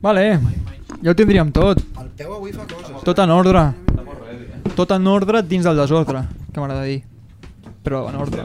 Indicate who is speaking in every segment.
Speaker 1: Vale, ja ho tindríem tot.
Speaker 2: El peu avui fa coses.
Speaker 1: Tot en ordre. Tot en ordre dins del desordre, que m'agrada dir. Però en ordre.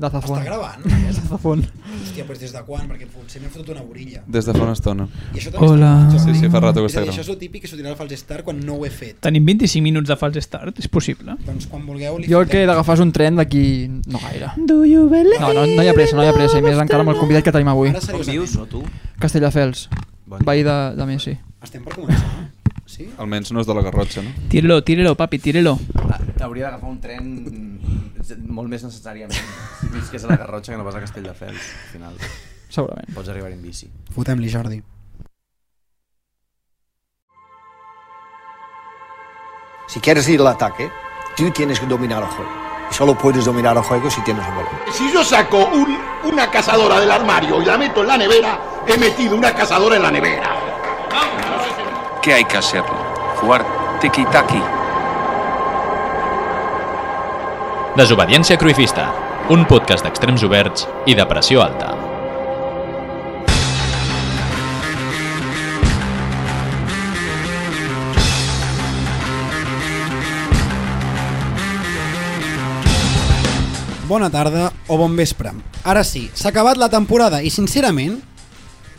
Speaker 1: De
Speaker 2: Està
Speaker 1: zafón.
Speaker 2: gravant?
Speaker 1: De zafón.
Speaker 2: Hòstia, però des de quan? Perquè potser m'he fotut una borilla.
Speaker 3: Des de fa una estona.
Speaker 2: I això també
Speaker 4: Hola.
Speaker 2: està-
Speaker 3: Sí, sí, fa rato que
Speaker 2: És a
Speaker 3: està
Speaker 2: dir, això és
Speaker 3: gravant.
Speaker 2: el típic que sortirà al Fals Star quan no ho he fet.
Speaker 4: Tenim 25 minuts de fals start, és possible.
Speaker 2: Doncs quan vulgueu li
Speaker 1: Jo el que he
Speaker 2: fotem.
Speaker 1: d'agafar és un tren d'aquí... no gaire.
Speaker 4: Do you believe
Speaker 1: No, no, no hi ha pressa, no hi ha pressa, i més encara amb el convidat que tenim avui.
Speaker 2: Ara
Speaker 5: On
Speaker 2: seriosament.
Speaker 5: vius, no, tu?
Speaker 1: Castelldefels, veí de, de Messi.
Speaker 2: Estem per començar? Sí?
Speaker 3: Almenys no és de la Garrotxa, no?
Speaker 4: Tírelo, tírelo, papi, tírelo.
Speaker 5: Ah, T'hauria d'agafar un tren molt més necessàriament. Si visques a la Garrotxa que no vas a Castelldefels, al final.
Speaker 1: Segurament.
Speaker 5: Pots arribar en bici.
Speaker 2: Fotem-li, Jordi.
Speaker 6: Si quieres ir al ataque, tú tienes que dominar el juego. Y solo puedes dominar el juego si tienes el balón.
Speaker 7: Si yo saco un- una cazadora del armario y la meto en la nevera, he metido una cazadora en la nevera.
Speaker 8: ¿Qué hay que hacerlo? Jugar tiki-taki.
Speaker 9: Desobediència Cruifista, un podcast d'extrems oberts i de pressió alta.
Speaker 2: Bona tarda o bon vespre. Ara sí, s'ha acabat la temporada i, sincerament,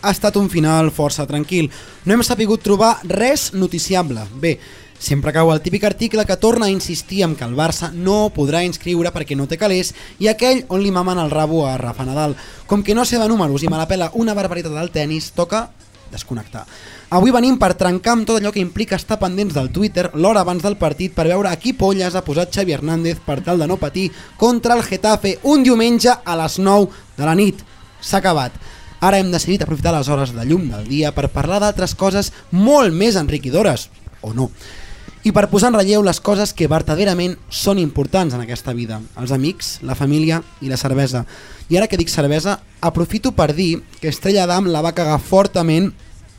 Speaker 2: ha estat un final força tranquil. No hem sapigut trobar res noticiable. Bé, sempre cau el típic article que torna a insistir en que el Barça no podrà inscriure perquè no té calés i aquell on li mamen el rabo a Rafa Nadal. Com que no sé de números i me la pela una barbaritat del tennis, toca desconnectar. Avui venim per trencar amb tot allò que implica estar pendents del Twitter l'hora abans del partit per veure a qui polles ha posat Xavi Hernández per tal de no patir contra el Getafe un diumenge a les 9 de la nit. S'ha acabat. Ara hem decidit aprofitar les hores de llum del dia per parlar d'altres coses molt més enriquidores, o no. I per posar en relleu les coses que verdaderament són importants en aquesta vida, els amics, la família i la cervesa. I ara que dic cervesa, aprofito per dir que Estrella Damm la va cagar fortament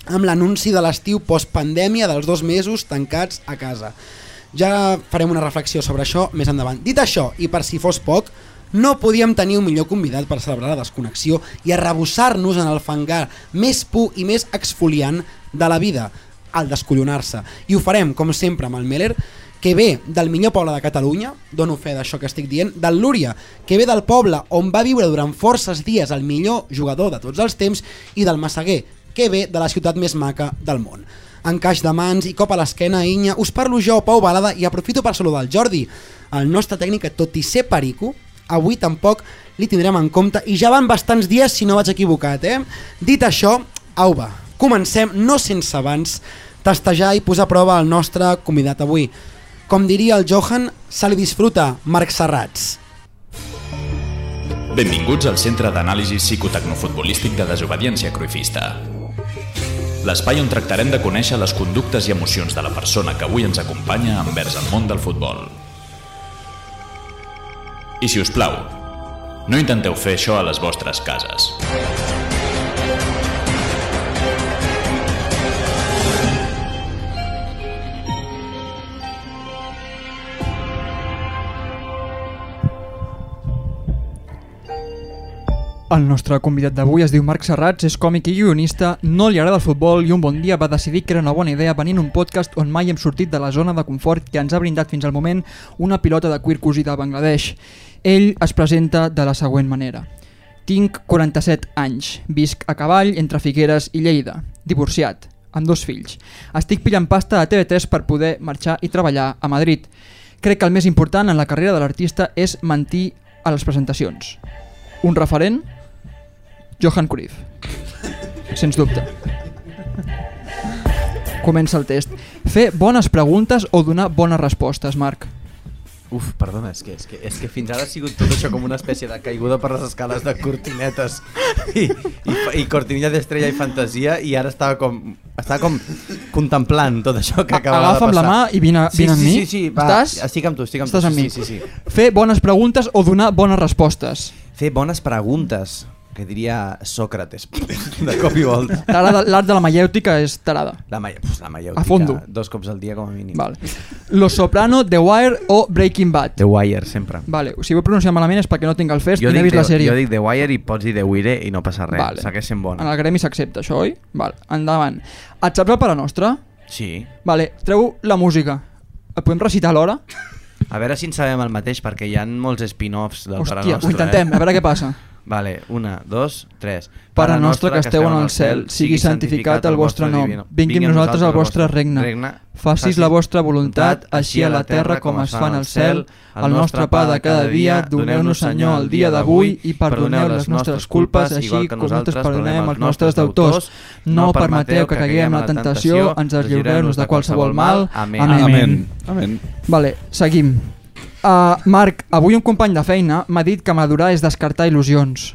Speaker 2: amb l'anunci de l'estiu postpandèmia dels dos mesos tancats a casa. Ja farem una reflexió sobre això més endavant. Dit això, i per si fos poc, no podíem tenir un millor convidat per celebrar la desconnexió i arrebossar-nos en el fangar més pur i més exfoliant de la vida, al descollonar-se. I ho farem, com sempre, amb el Meller, que ve del millor poble de Catalunya, dono fe d'això que estic dient, del Lúria, que ve del poble on va viure durant forces dies el millor jugador de tots els temps, i del Massaguer, que ve de la ciutat més maca del món. Encaix de mans i cop a l'esquena, Inya, us parlo jo, Pau Balada, i aprofito per saludar el Jordi, el nostre tècnic, que tot i ser perico, avui tampoc li tindrem en compte, i ja van bastants dies si no vaig equivocat, eh? Dit això, au va, comencem, no sense abans, testejar i posar a prova el nostre convidat avui. Com diria el Johan, se li disfruta, Marc Serrats.
Speaker 9: Benvinguts al Centre d'Anàlisi Psicotecnofutbolístic de Desobediència Cruifista. L'espai on tractarem de conèixer les conductes i emocions de la persona que avui ens acompanya envers el món del futbol. I si us plau, no intenteu fer això a les vostres cases.
Speaker 1: El nostre convidat d'avui es diu Marc Serrats, és còmic i guionista, no li agrada el futbol i un bon dia va decidir que era una bona idea venint un podcast on mai hem sortit de la zona de confort que ens ha brindat fins al moment una pilota de quircus i de Bangladesh. Ell es presenta de la següent manera. Tinc 47 anys, visc a cavall entre Figueres i Lleida, divorciat, amb dos fills. Estic pillant pasta a TV3 per poder marxar i treballar a Madrid. Crec que el més important en la carrera de l'artista és mentir a les presentacions. Un referent, Johan Cruyff. Sens dubte. Comença el test. Fer bones preguntes o donar bones respostes, Marc?
Speaker 5: Uf, perdona, és que, és que, és que fins ara ha sigut tot això com una espècie de caiguda per les escales de cortinetes i, i, fa- i cortinilla d'estrella i fantasia i ara estava com, estava com contemplant tot això que
Speaker 1: A-
Speaker 5: acabava
Speaker 1: agafa'm
Speaker 5: de
Speaker 1: la
Speaker 5: passar.
Speaker 1: mà i vine-
Speaker 5: sí,
Speaker 1: vine amb
Speaker 5: sí,
Speaker 1: mi.
Speaker 5: Sí, sí, va,
Speaker 1: Estàs?
Speaker 5: estic amb tu, estic amb
Speaker 1: Estàs
Speaker 5: tu.
Speaker 1: amb mi.
Speaker 5: Sí, sí, sí.
Speaker 1: Fer bones preguntes o donar bones respostes?
Speaker 5: Fer bones preguntes. que diria Sócrates, de cop i volta.
Speaker 1: Tarada- L'art de la maièutica és tarada.
Speaker 5: La, maia, pues, la maieutica,
Speaker 1: A fondo.
Speaker 5: Dos cops al dia com a mínim.
Speaker 1: Vale. Los Soprano, The Wire o Breaking Bad.
Speaker 5: The Wire, sempre.
Speaker 1: Vale, si ho he pronunciat malament és perquè no tinc el fest i no he vist
Speaker 5: The,
Speaker 1: la sèrie.
Speaker 5: jo dic The Wire i pots dir The Wire i no passa res. Vale. Segueix sent
Speaker 1: En
Speaker 5: bona.
Speaker 1: el gremi s'accepta això, oi? Vale, endavant. Et saps el Pare Nostre?
Speaker 5: Sí.
Speaker 1: Vale, treu la música. Et podem recitar l'hora?
Speaker 5: A veure si en sabem el mateix, perquè hi ha molts spin-offs del Pare
Speaker 1: Hòstia,
Speaker 5: Nostre.
Speaker 1: ho intentem,
Speaker 5: eh?
Speaker 1: a veure què passa.
Speaker 5: Vale, una, dos, tres.
Speaker 1: Pare nostre que esteu en el cel, sigui santificat el vostre nom, vingui a nosaltres el vostre regne, facis la vostra voluntat, així a la terra com es fa en el cel, el nostre pa de cada dia, doneu-nos Senyor el dia d'avui i perdoneu les nostres culpes, així com nosaltres perdonem els nostres deutors. No permeteu que caiguem en la tentació, ens deslliureu-nos de qualsevol mal.
Speaker 5: Amén.
Speaker 1: Amén.
Speaker 3: Amén. Amén.
Speaker 1: Vale, seguim. Uh, Marc, avui un company de feina m'ha dit que madurar és descartar il·lusions.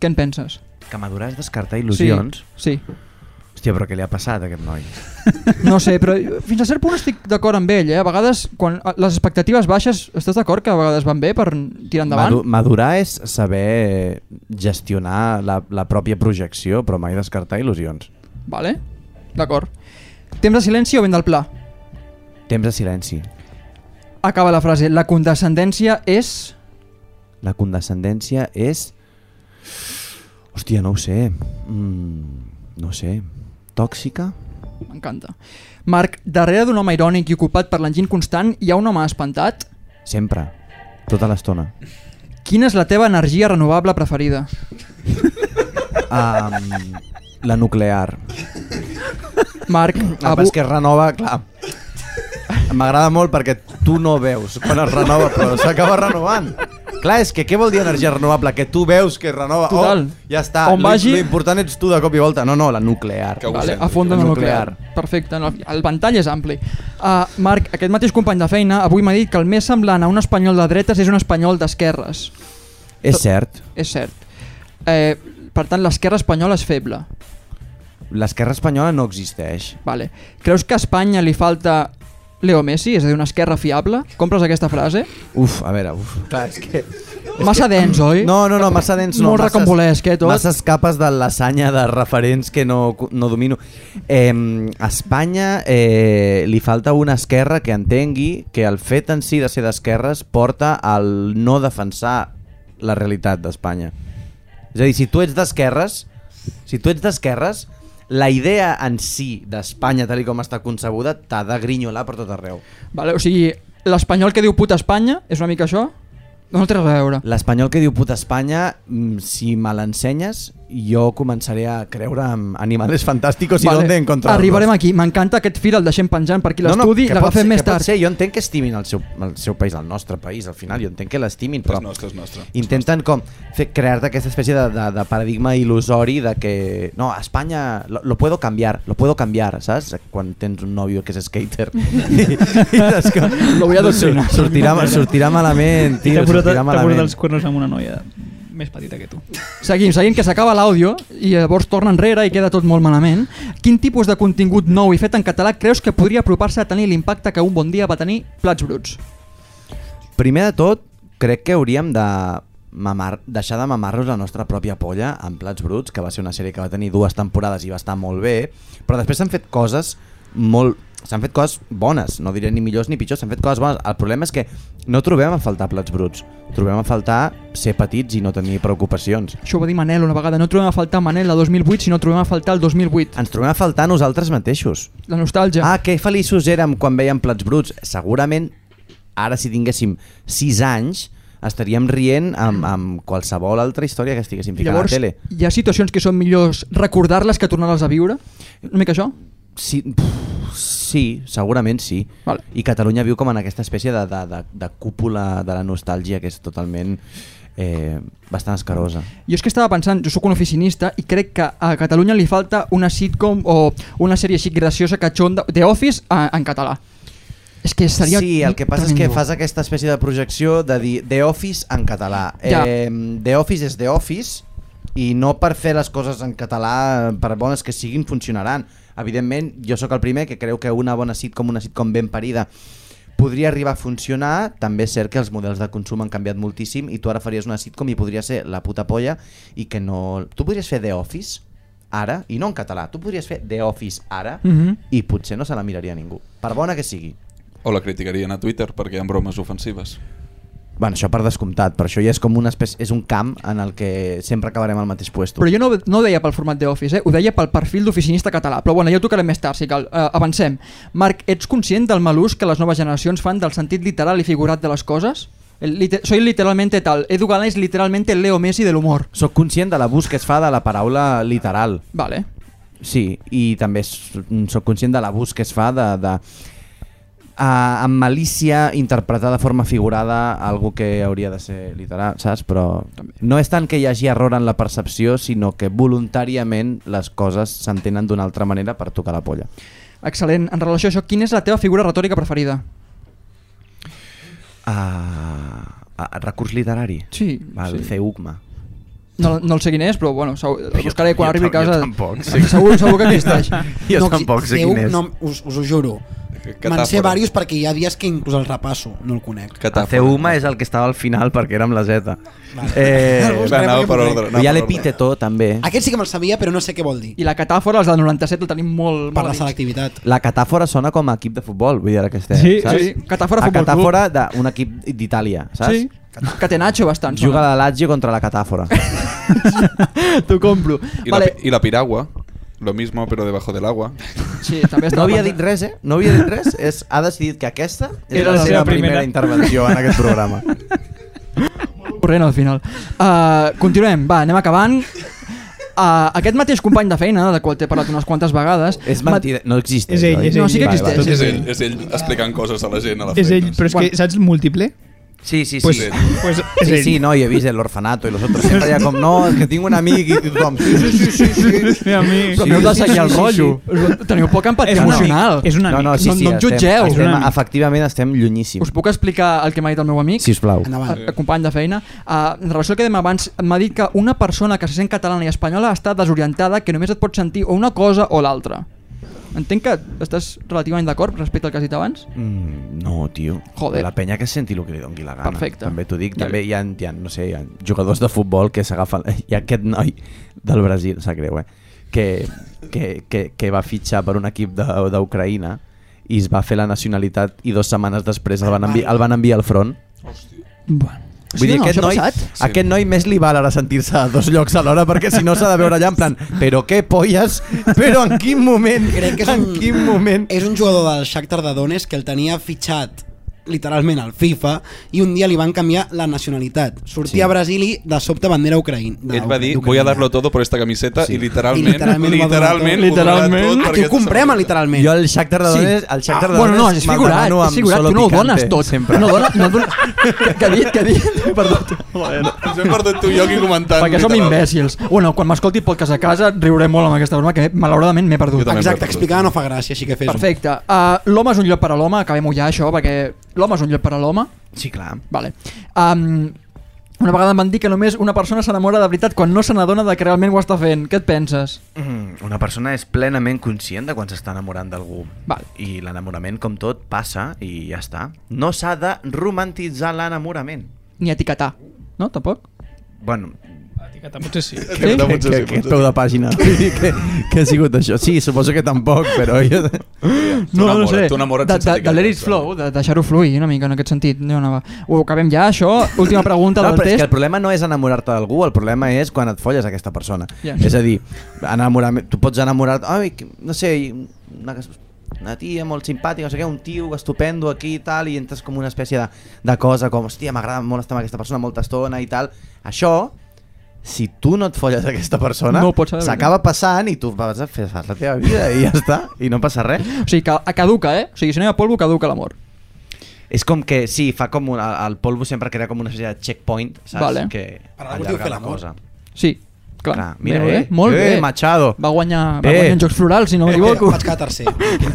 Speaker 1: Què en penses?
Speaker 5: Que madurar és descartar il·lusions.
Speaker 1: Sí, sí.
Speaker 5: Sí. Hòstia, però què li ha passat a aquest noi?
Speaker 1: No sé, però fins a cert punt estic d'acord amb ell, eh? A vegades, quan les expectatives baixes, estàs d'acord que a vegades van bé per tirar endavant?
Speaker 5: Madu- madurar és saber gestionar la, la pròpia projecció, però mai descartar il·lusions.
Speaker 1: Vale, d'acord. Temps de silenci o vent del pla?
Speaker 5: Temps de silenci.
Speaker 1: Acaba la frase. La condescendència és...
Speaker 5: La condescendència és... Hòstia, no ho sé. Mm, no ho sé. Tòxica?
Speaker 1: M'encanta. Marc, darrere d'un home irònic i ocupat per l'enginy constant hi ha un home espantat?
Speaker 5: Sempre. Tota l'estona.
Speaker 1: Quina és la teva energia renovable preferida?
Speaker 5: Um, la nuclear.
Speaker 1: Marc,
Speaker 5: El que
Speaker 1: avui...
Speaker 5: és que es renova, clar. M'agrada molt perquè tu no veus quan es renova, però s'acaba renovant. Clar, és que què vol dir energia renovable? Que tu veus que es renova.
Speaker 1: Total.
Speaker 5: Oh, ja està.
Speaker 1: On
Speaker 5: L'im-
Speaker 1: vagi-
Speaker 5: L'important ets tu de cop i volta. No, no, la nuclear.
Speaker 3: Que ho
Speaker 1: Vale,
Speaker 3: sento,
Speaker 1: a fons de
Speaker 5: jo.
Speaker 1: nuclear. nuclear. Perfecte, no, el ventall és ampli. Uh, Marc, aquest mateix company de feina avui m'ha dit que el més semblant a un espanyol de dretes és un espanyol d'esquerres.
Speaker 5: És cert.
Speaker 1: És cert. Eh, per tant, l'esquerra espanyola és feble.
Speaker 5: L'esquerra espanyola no existeix.
Speaker 1: Vale. Creus que a Espanya li falta Leo Messi, és a dir, una esquerra fiable? Compres aquesta frase?
Speaker 5: Uf, a veure, uf. Clar, és que...
Speaker 1: Massa dens, oi?
Speaker 5: No, no, no, massa dens no.
Speaker 1: Molt
Speaker 5: masses-
Speaker 1: recambolesc, eh, tot?
Speaker 5: Masses capes de lasanya de referents que no, no domino. Eh, a Espanya eh, li falta una esquerra que entengui que el fet en si de ser d'esquerres porta al no defensar la realitat d'Espanya. És a dir, si tu ets d'esquerres, si tu ets d'esquerres, la idea en si d'Espanya, tal i com està concebuda, t'ha de grinyolar per tot arreu.
Speaker 1: Vale, o sigui, l'espanyol que diu puta Espanya és una mica això? No, no té res a veure.
Speaker 5: L'espanyol que diu puta Espanya, mm, si me l'ensenyes, jo començaré a creure en animals fantàstics i vale. d'on encontrar
Speaker 1: Arribarem aquí. M'encanta aquest fil, el deixem penjant per aquí l'estudi, no, no, l'agafem més tard.
Speaker 5: Ser, jo entenc que estimin el seu, el seu país, el nostre país, al final, jo entenc que l'estimin, però
Speaker 3: És nostre, és nostre.
Speaker 5: intenten com fer crear-te aquesta espècie de, de, de paradigma il·lusori de que, no, a Espanya lo, lo puedo cambiar, lo puedo cambiar, saps? Quan tens un nòvio que és skater. I, i saps que,
Speaker 1: Lo voy a adoctrinar.
Speaker 5: Sortirà, sortirà malament,
Speaker 4: I
Speaker 5: tio,
Speaker 4: T'ha posat,
Speaker 5: sortirà
Speaker 4: t'ha posat
Speaker 5: malament.
Speaker 4: els cuernos amb una noia més petita que tu.
Speaker 1: Seguim, seguim, que s'acaba l'àudio i llavors torna enrere i queda tot molt malament. Quin tipus de contingut nou i fet en català creus que podria apropar-se a tenir l'impacte que un bon dia va tenir Plats Bruts?
Speaker 5: Primer de tot, crec que hauríem de mamar, deixar de mamar-nos la nostra pròpia polla amb Plats Bruts, que va ser una sèrie que va tenir dues temporades i va estar molt bé, però després s'han fet coses molt... s'han fet coses bones, no diré ni millors ni pitjors, s'han fet coses bones. El problema és que no trobem a faltar Plats Bruts, trobem a faltar ser petits i no tenir preocupacions.
Speaker 1: Això ho va dir Manel una vegada. No trobem a faltar Manel la 2008, sinó trobem a faltar el 2008.
Speaker 5: Ens trobem a faltar nosaltres mateixos.
Speaker 1: La nostàlgia.
Speaker 5: Ah, que feliços érem quan veiem Plats Bruts. Segurament, ara si tinguéssim 6 anys, estaríem rient amb, amb qualsevol altra història que estiguéssim ficant
Speaker 1: Llavors,
Speaker 5: a la tele.
Speaker 1: hi ha situacions que són millors recordar-les que tornar-les a viure? Una mica això?
Speaker 5: Sí, pff, sí, segurament sí.
Speaker 1: Vale.
Speaker 5: I Catalunya viu com en aquesta espècie de, de, de, de cúpula de la nostàlgia que és totalment eh, bastant escarosa.
Speaker 1: Jo és que estava pensant, jo sóc un oficinista i crec que a Catalunya li falta una sitcom o una sèrie així graciosa, catxonda, The Office, a, en català. És que seria...
Speaker 5: Sí, el que passa és que
Speaker 1: tremendo.
Speaker 5: fas aquesta espècie de projecció de dir The Office en català.
Speaker 1: Ja.
Speaker 5: Eh, The Office és The Office i no per fer les coses en català, per bones que siguin, funcionaran. Evidentment, jo sóc el primer que creu que una bona sitcom, una sitcom ben parida, podria arribar a funcionar, també és cert que els models de consum han canviat moltíssim i tu ara faries una sitcom i podria ser la puta polla i que no... Tu podries fer The Office ara, i no en català, tu podries fer The Office ara
Speaker 1: Mhm.
Speaker 5: i potser no se la miraria ningú, per bona que sigui.
Speaker 3: O la criticarien a Twitter perquè hi ha bromes ofensives.
Speaker 5: Bueno, això per descomptat, però això ja és com una espècie, és un camp en el que sempre acabarem al mateix puesto.
Speaker 1: Però jo no, no ho deia pel format d'Office, eh? ho deia pel perfil d'oficinista català. Però bueno, ja ho tocarem més tard, si cal. Uh, avancem. Marc, ets conscient del malús que les noves generacions fan del sentit literal i figurat de les coses? El, lite soy literalmente tal. Edu Galán és literalmente el Leo Messi de l'humor.
Speaker 5: Soc conscient de l'abús que es fa de la paraula literal.
Speaker 1: Vale.
Speaker 5: Sí, i també s- mm, sóc conscient de l'abús que es fa de, de a, amb malícia interpretar de forma figurada algo que hauria de ser literal, saps? Però no és tant que hi hagi error en la percepció, sinó que voluntàriament les coses s'entenen d'una altra manera per tocar la polla.
Speaker 1: Excel·lent. En relació a això, quina és la teva figura retòrica preferida?
Speaker 5: Ah, ah, recurs literari?
Speaker 1: Sí,
Speaker 5: Val,
Speaker 1: sí.
Speaker 5: fer UCMA.
Speaker 1: No, no el sé quin és, però bueno, segur, el buscaré quan
Speaker 5: jo
Speaker 1: arribi a
Speaker 5: tam- jo
Speaker 1: casa.
Speaker 5: tampoc.
Speaker 1: Sí. Segur, segur que existeix.
Speaker 5: Jo
Speaker 2: No,
Speaker 5: tampoc sé
Speaker 2: Déu,
Speaker 5: quin és.
Speaker 2: No, us, us ho juro. Me'n sé
Speaker 3: Catàfora.
Speaker 2: diversos perquè hi ha dies que inclús el repasso, no el conec.
Speaker 5: El
Speaker 3: Catàfora.
Speaker 5: Ceuma és el que estava al final perquè era amb la Z.
Speaker 2: Vale. El
Speaker 5: Eh,
Speaker 2: buscaré
Speaker 3: Va, anava
Speaker 2: perquè
Speaker 3: per
Speaker 2: m'ho
Speaker 3: ordre.
Speaker 2: crec.
Speaker 3: anava
Speaker 5: hi ha
Speaker 3: per
Speaker 5: l'epíteto també.
Speaker 2: Aquest sí que me'l sabia, però no sé què vol dir.
Speaker 1: I la catàfora, els del 97, el tenim molt, molt
Speaker 2: Per
Speaker 1: a
Speaker 2: la
Speaker 1: dins.
Speaker 2: selectivitat.
Speaker 5: La catàfora sona com a equip de futbol, vull dir ara que estem,
Speaker 4: Sí,
Speaker 5: saps?
Speaker 1: sí, Catàfora
Speaker 5: A
Speaker 1: Futbol Club.
Speaker 5: catàfora d'un equip d'Itàlia, saps?
Speaker 1: Sí. Catenaccio bastant.
Speaker 5: Juga la Lazio contra la catàfora.
Speaker 1: T'ho compro.
Speaker 3: I,
Speaker 1: vale.
Speaker 3: la, pi- I la piragua. Lo mismo, però debajo del agua.
Speaker 1: Sí, també
Speaker 5: No
Speaker 1: estava
Speaker 5: havia dit
Speaker 1: pensant-
Speaker 5: res, eh? No havia dit res. És, ha decidit que aquesta és
Speaker 4: Era la
Speaker 5: la, seva
Speaker 4: seva
Speaker 5: primera
Speaker 4: primera.
Speaker 5: intervenció en aquest programa.
Speaker 1: corrent al final. Uh, continuem, va, anem acabant. Uh, aquest mateix company de feina, de qual t'he parlat unes quantes vegades...
Speaker 5: és
Speaker 1: m'ha-
Speaker 5: mentida, no existeix.
Speaker 4: És ell,
Speaker 5: oi?
Speaker 4: és ell,
Speaker 1: No, sí que
Speaker 4: ell.
Speaker 1: existeix.
Speaker 4: Tot
Speaker 3: És
Speaker 4: és
Speaker 3: ell, és ell explicant coses a la gent a la
Speaker 4: És ell,
Speaker 3: feina.
Speaker 4: però és que, saps, múltiple?
Speaker 5: Sí, sí, sí.
Speaker 4: Pues,
Speaker 5: sí.
Speaker 4: pues és
Speaker 5: Sí,
Speaker 4: ell.
Speaker 5: sí, no, i he vist l'orfanato i los otros sempre ja com, no, és que tinc un amic i tothom, sí, sí, sí, sí, sí.
Speaker 4: Sí, a mi.
Speaker 1: Però
Speaker 5: Sí,
Speaker 1: m'heu de
Speaker 5: sí,
Speaker 1: seguir
Speaker 5: sí,
Speaker 1: el
Speaker 5: sí,
Speaker 1: rotllo. Teniu poca empatia
Speaker 4: És un
Speaker 1: emocional.
Speaker 4: amic, és un amic.
Speaker 5: No, no, sí,
Speaker 1: No-
Speaker 5: sí,
Speaker 1: no em
Speaker 5: estem-
Speaker 1: jutgeu.
Speaker 4: És un
Speaker 5: Estem,
Speaker 4: amic.
Speaker 5: efectivament estem llunyíssims.
Speaker 1: Us puc explicar el que m'ha dit el meu amic?
Speaker 5: Si us plau.
Speaker 2: Endavant.
Speaker 1: A- company de feina, uh, en relació al que dèiem abans, m'ha dit que una persona que se sent catalana i espanyola està desorientada, que només et pot sentir o una cosa o l'altra. Entenc que estàs relativament d'acord respecte al que has dit abans?
Speaker 5: Mm, no, tio.
Speaker 1: Joder.
Speaker 5: La penya que senti el que li doni la gana.
Speaker 1: Perfecte.
Speaker 5: També t'ho dic.
Speaker 1: Ja
Speaker 5: També hi ha, hi ha, no sé, hi ha jugadors de futbol que s'agafen... Hi ha aquest noi del Brasil, sap greu, eh? Que, que, que, que va fitxar per un equip de- d'Ucraïna i es va fer la nacionalitat i dues setmanes després el van, envi el van enviar al front.
Speaker 1: Bueno.
Speaker 5: Vull dir, aquest, noi,
Speaker 3: Sí.
Speaker 5: aquest noi més li val ara sentir-se a dos llocs alhora perquè si no s'ha de veure allà en plan però què polles, però en quin moment
Speaker 2: Crec que és
Speaker 5: en
Speaker 2: un-
Speaker 5: quin moment
Speaker 2: És un jugador del Shakhtar de Donetsk que el tenia fitxat literalment al FIFA i un dia li van canviar la nacionalitat. Sortia
Speaker 5: Sí.
Speaker 2: a Brasil i de sobte bandera ucraïna.
Speaker 3: Ell va dir, voy a darlo todo por esta camiseta sí.
Speaker 5: Sí.
Speaker 3: i literalment,
Speaker 2: I literalment ho va donar tot.
Speaker 3: literalment, ho donarà
Speaker 4: Literalment.
Speaker 3: tot
Speaker 4: Ah,
Speaker 3: per
Speaker 2: Aquí ho
Speaker 3: aquesta
Speaker 2: comprem,
Speaker 3: samarreta.
Speaker 2: literalment.
Speaker 5: Jo el Shakhtar de
Speaker 1: Sí. Ah,
Speaker 5: Donetsk, sí. Ah, el Shakhtar de
Speaker 1: bueno,
Speaker 5: Donetsk
Speaker 1: no, és
Speaker 5: me'l
Speaker 1: figurat,
Speaker 5: demano
Speaker 1: és
Speaker 5: amb
Speaker 1: figurat,
Speaker 5: solo
Speaker 1: tu no ho
Speaker 5: picante,
Speaker 1: dones tot.
Speaker 5: sempre.
Speaker 1: No dones, no dones... Que, que ha dit, que ha dit, perdó.
Speaker 3: Ens hem perdut tu i jo aquí comentant.
Speaker 1: Perquè som
Speaker 3: literal.
Speaker 1: imbècils. Bueno, quan m'escolti podcast a casa riuré molt amb aquesta broma que malauradament m'he perdut.
Speaker 3: Jo també.
Speaker 2: Exacte, explicar no fa gràcia, així que fes-ho.
Speaker 1: Perfecte. Uh, l'home és un lloc per a l'home, acabem-ho ja això, perquè l'home és un lloc per a l'home.
Speaker 5: Sí, clar.
Speaker 1: Vale. Um, una vegada em van dir que només una persona s'enamora de veritat quan no se n'adona de que realment ho està fent. Què et penses?
Speaker 5: Mm, Una persona és plenament conscient de quan s'està enamorant d'algú.
Speaker 1: Val.
Speaker 5: I l'enamorament, com tot, passa i ja està. No s'ha de romantitzar l'enamorament.
Speaker 1: Ni etiquetar, no? Tampoc?
Speaker 5: Bueno,
Speaker 4: Etiqueta, potser sí.
Speaker 3: Que, que,
Speaker 5: que, que, que peu de pàgina. que, que ha sigut això? Sí, suposo que tampoc, però... Jo...
Speaker 3: Tu enamora't
Speaker 1: De, de,
Speaker 3: sense
Speaker 1: de
Speaker 3: etiquetes,
Speaker 1: let it
Speaker 5: eh?
Speaker 1: flow, de deixar-ho fluir una mica en aquest sentit. No, no, va. Ho acabem ja, això. Última pregunta
Speaker 5: No,
Speaker 1: del
Speaker 5: però és que el
Speaker 1: test.
Speaker 5: problema no és enamorar-te d'algú, el problema és quan et folles aquesta persona.
Speaker 1: Ja.
Speaker 5: És a dir, enamorar, tu pots enamorar-te, ai, que- no sé, i una, una tia molt simpàtica, no sé què, un tio estupendo aquí i tal, i entres com una espècie de, de cosa com, hòstia, m'agrada molt estar amb aquesta persona molta estona i tal. Això, si tu no et folles aquesta persona,
Speaker 1: No ho pots saber.
Speaker 5: s'acaba passant i tu vas a fer fas la teva vida i ja està, i no passa res.
Speaker 1: O sigui, que a caduca, eh? O sigui, si no hi ha polvo, caduca l'amor.
Speaker 5: És com que, sí, fa com un, el polvo sempre crea com una espècie de checkpoint, saps?
Speaker 1: Vale.
Speaker 5: Que
Speaker 2: Per algun motiu
Speaker 5: allarga
Speaker 2: fer
Speaker 5: la
Speaker 2: l'amor.
Speaker 5: cosa.
Speaker 1: Sí, clar.
Speaker 5: Clar, mira,
Speaker 1: Bé,
Speaker 5: eh,
Speaker 1: Molt
Speaker 5: eh,
Speaker 1: bé.
Speaker 5: Machado.
Speaker 1: Va guanyar, va
Speaker 5: Eh.
Speaker 1: guanyar en Jocs Florals, si no m'equivoco.
Speaker 2: Vaig quedar tercer.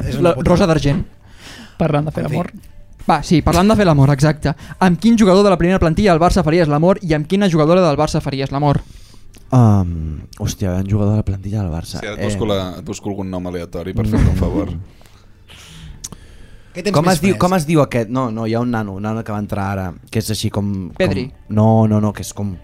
Speaker 2: És una
Speaker 1: La
Speaker 2: puta.
Speaker 1: Rosa d'Argent.
Speaker 4: Parlant de fer
Speaker 2: En fi.
Speaker 4: amor.
Speaker 1: Va, sí, parlant de fer l'amor, exacte. Amb quin jugador de la primera plantilla del Barça faries l'amor i amb quina jugadora del Barça faries l'amor?
Speaker 5: Um, hòstia, hi ha un jugador de la plantilla del Barça. eh.
Speaker 3: Sí, ara et busco, la, et busco algun nom aleatori per fer-te un favor.
Speaker 2: Què tens
Speaker 5: Com
Speaker 2: més
Speaker 5: es, diu,
Speaker 2: fresc?
Speaker 5: com es diu aquest? No, no, hi ha un nano, un nano que va entrar ara, que és així com... com-
Speaker 1: Pedri.
Speaker 5: No, no, no, que és com...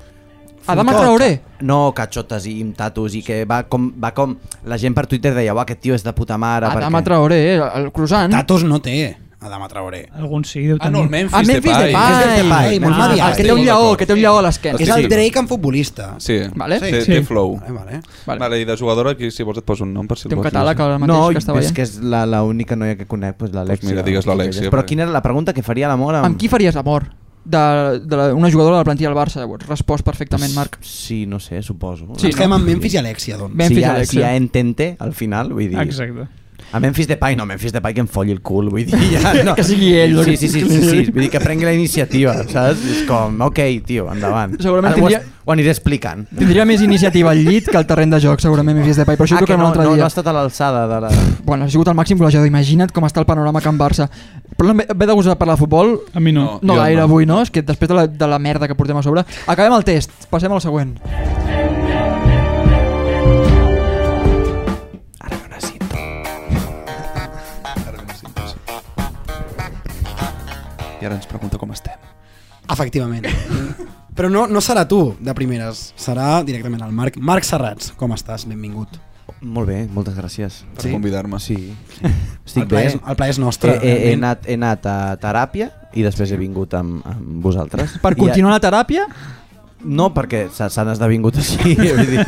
Speaker 1: Adama
Speaker 5: Futbol,
Speaker 1: Traoré.
Speaker 5: ca- No, catxotes i amb tatus i que va com, va com... La gent per Twitter deia, uah, aquest tio és de puta mare.
Speaker 1: Adama
Speaker 5: perquè...
Speaker 1: Traoré, eh, el croissant.
Speaker 2: Tatos no té, Adama Traoré.
Speaker 4: Alguns sí, deu
Speaker 3: Ah,
Speaker 4: tenir.
Speaker 3: no, el
Speaker 1: Ah,
Speaker 3: Memphis,
Speaker 1: Memphis
Speaker 3: Depay.
Speaker 1: Depay.
Speaker 5: Memphis Depay,
Speaker 1: Ah,
Speaker 5: Memphis
Speaker 1: el que
Speaker 2: Depay.
Speaker 1: té un
Speaker 5: Estic
Speaker 1: lleó,
Speaker 5: molt
Speaker 1: el que té un lleó a
Speaker 2: És
Speaker 1: l'esquena.
Speaker 3: Sí,
Speaker 2: el
Speaker 3: sí.
Speaker 2: Drake en futbolista.
Speaker 3: Sí,
Speaker 1: Vale.
Speaker 3: té,
Speaker 4: Sí.
Speaker 3: té flow.
Speaker 2: Vale, vale.
Speaker 1: Vale.
Speaker 3: Vale, i de jugadora, aquí, si vols et poso un nom per si el
Speaker 1: Té un
Speaker 3: vols.
Speaker 1: catàleg ara mateix
Speaker 5: No,
Speaker 1: que està
Speaker 5: és
Speaker 1: veient.
Speaker 5: que és la, la única noia que conec, doncs l'Alexia.
Speaker 3: mira, digues l'Alexia,
Speaker 5: Però
Speaker 3: perquè-
Speaker 5: quina era la pregunta que faria l'amor amb...
Speaker 1: Amb qui faries amor? De, de la, una jugadora de la plantilla del Barça, llavors. Respost perfectament, Marc.
Speaker 5: Sí, no sé, suposo.
Speaker 1: Sí,
Speaker 2: Estem
Speaker 1: no?
Speaker 2: amb Memphis i Alexia, doncs.
Speaker 1: Memphis
Speaker 5: si, hi
Speaker 1: i
Speaker 5: ha,
Speaker 1: Alexia.
Speaker 5: si hi ha entente, al final, vull dir...
Speaker 4: Exacte.
Speaker 5: A Memphis Depay, no, Memphis Depay que em folli el cul, vull dir, ja, no.
Speaker 1: Que sigui ell,
Speaker 5: Sí,
Speaker 1: que-
Speaker 5: sí, sí, sí, sí, vull dir que prengui la iniciativa, saps? És com, ok, tio, endavant.
Speaker 1: Segurament
Speaker 5: Ara ho,
Speaker 1: tindria-
Speaker 5: es- ho aniré explicant.
Speaker 1: Tindria més iniciativa al llit que al terreny de joc, segurament, Memphis Depay, però això
Speaker 5: ah,
Speaker 1: ho
Speaker 5: que
Speaker 1: tocarem
Speaker 5: no,
Speaker 1: un altre
Speaker 5: no,
Speaker 1: dia.
Speaker 5: no ha estat a l'alçada de la...
Speaker 1: Bueno, ha sigut el màxim golejador, imagina't com està el panorama a Can Barça. Però ve, ve de gust de parlar de futbol?
Speaker 4: A mi no.
Speaker 1: No
Speaker 3: Jo
Speaker 1: gaire
Speaker 3: no.
Speaker 1: avui, no? És que després de la, de la merda que portem a sobre... Acabem el test, passem al següent.
Speaker 3: I ara ens pregunta com estem.
Speaker 2: Efectivament. Però no, no serà tu, de primeres. Serà directament el Marc. Marc Serrats, com estàs? Benvingut.
Speaker 5: Molt bé, moltes gràcies.
Speaker 3: Per convidar-me.
Speaker 5: Sí.
Speaker 2: el,
Speaker 5: Estic
Speaker 2: plaer
Speaker 5: bé.
Speaker 2: és, el plaer és
Speaker 5: He,
Speaker 2: nostre.
Speaker 5: he, he,
Speaker 2: realment.
Speaker 5: anat, he anat a teràpia i després he vingut amb, amb vosaltres.
Speaker 1: Per
Speaker 5: I-
Speaker 1: continuar la teràpia,
Speaker 5: No, perquè s'ha- s'han esdevingut així. Vull dir,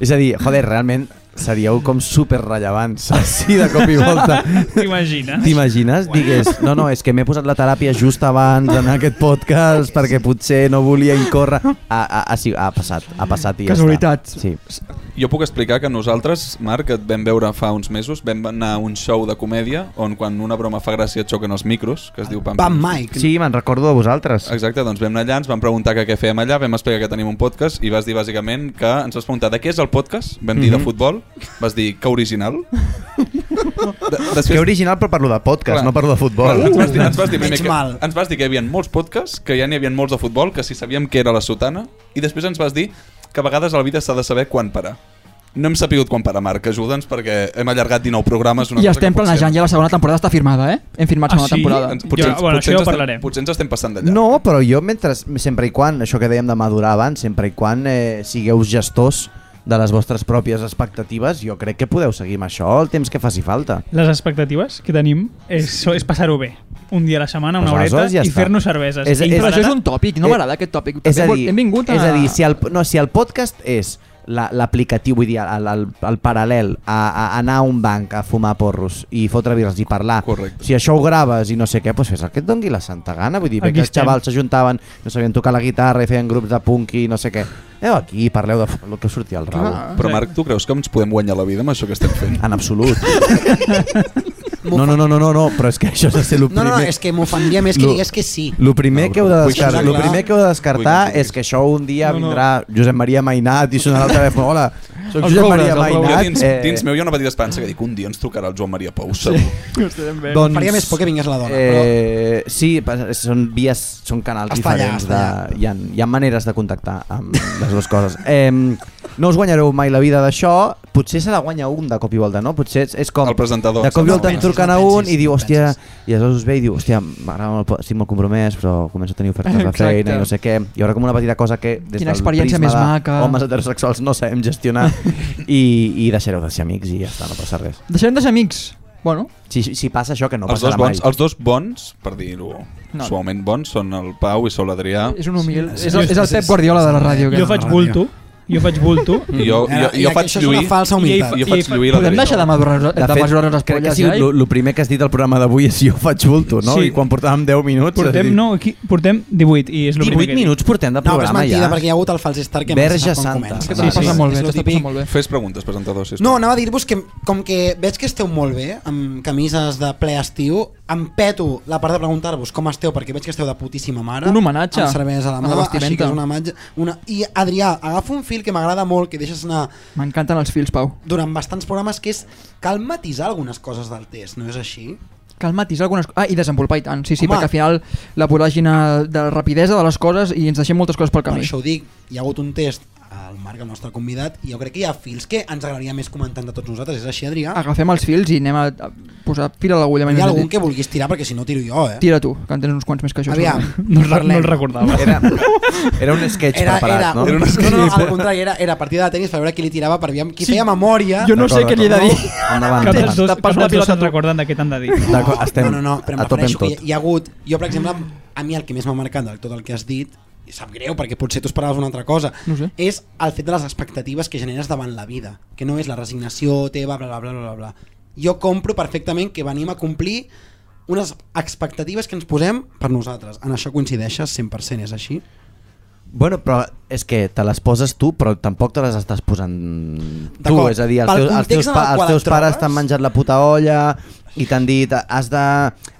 Speaker 5: és a dir, joder, realment seríeu com super rellevants així de cop i volta.
Speaker 4: T'imagines?
Speaker 5: T'imagines? Digues, no, no, és que m'he posat la teràpia just abans en aquest podcast perquè potser no volia incórrer. Ah, ah, ah sí, ha passat, ha passat i
Speaker 1: Casualitat.
Speaker 5: ja està. Sí.
Speaker 3: Jo puc explicar que nosaltres, Marc, et vam veure fa uns mesos, vam anar a un show de comèdia on quan una broma fa gràcia et xoquen els micros, que es diu Pam
Speaker 2: Pam Mike.
Speaker 5: Sí, me'n recordo de vosaltres.
Speaker 3: Exacte, doncs vam anar allà, ens van preguntar que què fèiem allà, vam explicar que tenim un podcast i vas dir bàsicament que ens vas preguntar de què és el podcast, vam dir de futbol, vas dir que original. De,
Speaker 5: Que
Speaker 3: després,
Speaker 5: original, però parlo de podcast,
Speaker 3: Clar.
Speaker 5: no parlo de futbol.
Speaker 3: Ens vas dir, ens vas dir,
Speaker 2: Veig
Speaker 3: primer que,
Speaker 2: mal.
Speaker 3: ens vas dir que hi havia molts podcasts, que ja n'hi havia molts de futbol, que si sabíem què era la sotana, i després ens vas dir que a vegades a la vida s'ha de saber quan parar. No hem sapigut quan parar, Marc, ajuda'ns perquè hem allargat 19 programes. Una
Speaker 1: i
Speaker 3: cosa
Speaker 1: estem
Speaker 3: que potser-
Speaker 1: planejant ja la segona temporada, està firmada, eh? Hem firmat
Speaker 4: Ah,
Speaker 1: segona
Speaker 4: sí?
Speaker 1: temporada.
Speaker 3: Ens, potser,
Speaker 4: Jo- bueno,
Speaker 3: potser,
Speaker 4: això ja ho
Speaker 3: ens estem,
Speaker 4: parlarem.
Speaker 3: potser ens estem passant d'allà.
Speaker 5: No, però jo mentre, sempre i quan, això que dèiem de madurar abans, sempre i quan eh, sigueu gestors de les vostres pròpies expectatives, jo crec que podeu seguir amb això el temps que faci falta.
Speaker 4: Les expectatives que tenim és, és passar-ho bé. Un dia a la setmana, una
Speaker 5: Pues
Speaker 4: horeta,
Speaker 5: aleshores ja
Speaker 4: i
Speaker 5: està.
Speaker 4: fer-nos cerveses.
Speaker 5: És-
Speaker 4: I
Speaker 5: és-
Speaker 1: Però això
Speaker 4: patata-
Speaker 1: és un tòpic, no
Speaker 5: Eh,
Speaker 1: m'agrada aquest tòpic.
Speaker 5: és a
Speaker 1: També vol-
Speaker 5: dir,
Speaker 1: hem vingut a...
Speaker 5: és a dir si, el, no, si el podcast és la- l'aplicatiu, vull dir, el, el, el paral·lel a, a anar a un banc a fumar porros i fotre birres i parlar
Speaker 3: Correcte.
Speaker 5: si això ho graves i no sé què, doncs fes el que et doni la santa gana vull dir,
Speaker 4: Aquí
Speaker 5: perquè els
Speaker 4: estem.
Speaker 5: xavals s'ajuntaven no sabien tocar la guitarra i feien grups de punk i no sé què, aneu aquí, parleu de el que us sortia al rau,
Speaker 3: Però Marc, tu creus que ens podem guanyar la vida amb això que estem fent?
Speaker 5: en absolut no, no, no, no, no, no, però és que això és de ser el
Speaker 2: No,
Speaker 5: primer
Speaker 2: no, no, és que m'ofendria més que
Speaker 5: Lo-
Speaker 2: digués que sí.
Speaker 5: Lo primer, que heu de
Speaker 2: Vull
Speaker 5: descartar,
Speaker 2: deixar
Speaker 5: lo
Speaker 2: clar-
Speaker 5: primer que heu de descartar
Speaker 3: Vull que
Speaker 5: és que això un dia
Speaker 4: No, no.
Speaker 5: vindrà Josep Maria Mainat i sonarà el telèfon. Hola, soc
Speaker 1: Els
Speaker 5: Josep
Speaker 1: roures,
Speaker 5: Maria
Speaker 1: els roures.
Speaker 3: Jo
Speaker 5: Mainat.
Speaker 3: dins,
Speaker 5: eh,
Speaker 3: dins meu hi ha una petita esperança que dic un dia ens trucarà el Joan Maria Pou, segur. Sí.
Speaker 5: doncs,
Speaker 2: Faria més por que vingués la dona,
Speaker 5: Eh, sí, pa- són vies, són canals
Speaker 2: Està allà,
Speaker 5: diferents.
Speaker 2: està allà.
Speaker 5: de, hi, ha, hi ha maneres de contactar amb les dues coses. Eh, no us guanyareu mai la vida d'això, potser se la guanya un de cop i volta, no? Potser és, és com...
Speaker 3: El presentador.
Speaker 5: De cop i
Speaker 2: No
Speaker 5: volta en
Speaker 2: pensis,
Speaker 5: truquen
Speaker 2: no
Speaker 5: a un
Speaker 2: pensis,
Speaker 5: i diu,
Speaker 2: no
Speaker 5: hòstia,
Speaker 2: pensis.
Speaker 5: i aleshores us ve i diu, hòstia, m'agrada molt, po- estic molt compromès, però començo a tenir ofertes de
Speaker 1: Exacte.
Speaker 5: feina i no sé què. I haurà com una petita cosa que des
Speaker 1: Quina
Speaker 5: del
Speaker 1: experiència
Speaker 5: prisma
Speaker 1: més
Speaker 5: de
Speaker 1: maca.
Speaker 5: homes heterosexuals no sabem gestionar i, i deixareu de ser amics i ja està, no passa res.
Speaker 1: Deixarem de ser amics. Bueno,
Speaker 5: Si, si passa això, que no
Speaker 3: els, dos
Speaker 5: passarà
Speaker 3: bons,
Speaker 5: mai.
Speaker 3: els dos bons, per dir-ho
Speaker 1: No.
Speaker 3: suaument bons, són el Pau i Sol Adrià.
Speaker 5: Ah.
Speaker 1: és un humil...
Speaker 2: sí,
Speaker 1: és, el,
Speaker 2: sí,
Speaker 1: és el
Speaker 2: sí,
Speaker 1: Pep
Speaker 2: sí,
Speaker 1: Guardiola de la ràdio.
Speaker 4: Jo
Speaker 1: aquest.
Speaker 4: faig bulto, jo faig bulto,
Speaker 3: I jo, jo, jo,
Speaker 2: Ara,
Speaker 3: faig
Speaker 2: Eh, això és
Speaker 3: lluir,
Speaker 2: una falsa humilitat.
Speaker 3: jo faig
Speaker 4: I-
Speaker 3: lluir la
Speaker 1: Podem deixar de madurar, de, de mesurar les
Speaker 5: crec que ha
Speaker 1: polles,
Speaker 5: sigut
Speaker 1: ja?
Speaker 5: lo- lo primer que has dit al programa d'avui és jo faig bulto, no?
Speaker 4: Sí.
Speaker 5: I quan portàvem 10 minuts...
Speaker 4: portem, no, aquí, portem 18, i és el primer
Speaker 5: 18
Speaker 4: que he dit.
Speaker 5: minuts portem de
Speaker 2: No, però és
Speaker 5: programa
Speaker 2: mentida,
Speaker 5: ja.
Speaker 2: perquè hi ha hagut el fals start que
Speaker 5: Verge
Speaker 2: mai se sap
Speaker 5: santa.
Speaker 2: com comença.
Speaker 5: Sí,
Speaker 1: S'està
Speaker 5: sí,
Speaker 1: passant molt bé,
Speaker 2: És lo
Speaker 1: s'està
Speaker 2: típic.
Speaker 1: passant molt bé.
Speaker 3: Fes preguntes, presentador, sisplau.
Speaker 2: No, anava a dir-vos que com que veig que esteu molt bé amb camises de ple estiu, em peto la part de preguntar-vos com esteu perquè veig que esteu de putíssima mare.
Speaker 1: Un homenatge
Speaker 2: Amb cervesa a
Speaker 1: a
Speaker 2: la
Speaker 1: la
Speaker 2: mà, així
Speaker 1: vestimenta.
Speaker 2: que és una imatge... Una... I Adrià, agafa un fil que m'agrada molt, que deixes anar
Speaker 1: M'encanten els fils, Pau.
Speaker 2: durant bastants programes, que és cal matisar algunes coses del test, no és així?
Speaker 1: que el matis algunes coses... Ah, i desenvolupar i tant, sí, sí,
Speaker 2: Home.
Speaker 1: Home. perquè al final la voràgina de la rapidesa de les coses i ens deixem moltes coses pel
Speaker 2: Per
Speaker 1: camí.
Speaker 2: això ho dic, hi ha hagut un test al Marc, el nostre convidat, i jo crec que hi ha fils que ens agradaria més comentant de tots nosaltres. És així, Adrià?
Speaker 1: Agafem els fils i anem a, a posar fil Ah, a l'agulla. mai
Speaker 2: Hi
Speaker 1: més
Speaker 2: ha
Speaker 1: ben
Speaker 2: algun
Speaker 1: dit.
Speaker 2: que vulguis tirar perquè si no tiro jo, eh?
Speaker 1: Tira tu, que en tens uns quants més que això.
Speaker 2: Aviam,
Speaker 1: segurament.
Speaker 4: No, el re- no
Speaker 2: parlem.
Speaker 4: el recordava.
Speaker 5: Era, era un sketch
Speaker 2: Era,
Speaker 5: preparat,
Speaker 2: era,
Speaker 5: no?
Speaker 2: un- no, no, no, al contrari, era, era partida de tenis per veure qui li tirava, per veure qui feia memòria.
Speaker 1: Jo no sé
Speaker 5: D'acord,
Speaker 1: què li he de
Speaker 5: d'acord.
Speaker 1: dir.
Speaker 5: Endavant,
Speaker 4: Cap dels
Speaker 5: endavant.
Speaker 4: dos,
Speaker 1: T'ha
Speaker 4: cap
Speaker 1: passat la
Speaker 4: dels dos
Speaker 1: pilota
Speaker 4: se'n
Speaker 1: tu.
Speaker 4: recorden de què t'han de dir.
Speaker 5: D'acord, estem
Speaker 2: no, no, no, però em
Speaker 5: a tope amb
Speaker 2: refereixo que
Speaker 5: tot.
Speaker 2: hi, hi ha hagut... Jo, per exemple, a mi el que més m'ha marcat de tot el que has dit, i sap greu perquè potser tu esperaves una altra cosa,
Speaker 1: No ho sé.
Speaker 2: és el fet de les expectatives que generes davant la vida, que no és la resignació teva, bla, bla, bla, bla, bla. Jo compro perfectament que venim a complir unes expectatives que ens posem per nosaltres. En això coincideixes 100%, és així?
Speaker 5: Bueno, però és que te les poses tu, però tampoc te les estàs posant tu.
Speaker 2: D'acord.
Speaker 5: És a dir, els
Speaker 2: Pel
Speaker 5: teus, els
Speaker 2: context
Speaker 5: teus,
Speaker 2: en el
Speaker 5: pa, els
Speaker 2: qual
Speaker 5: teus
Speaker 2: et
Speaker 5: pares
Speaker 2: trobes.
Speaker 5: t'han menjat la puta olla i t'han dit has de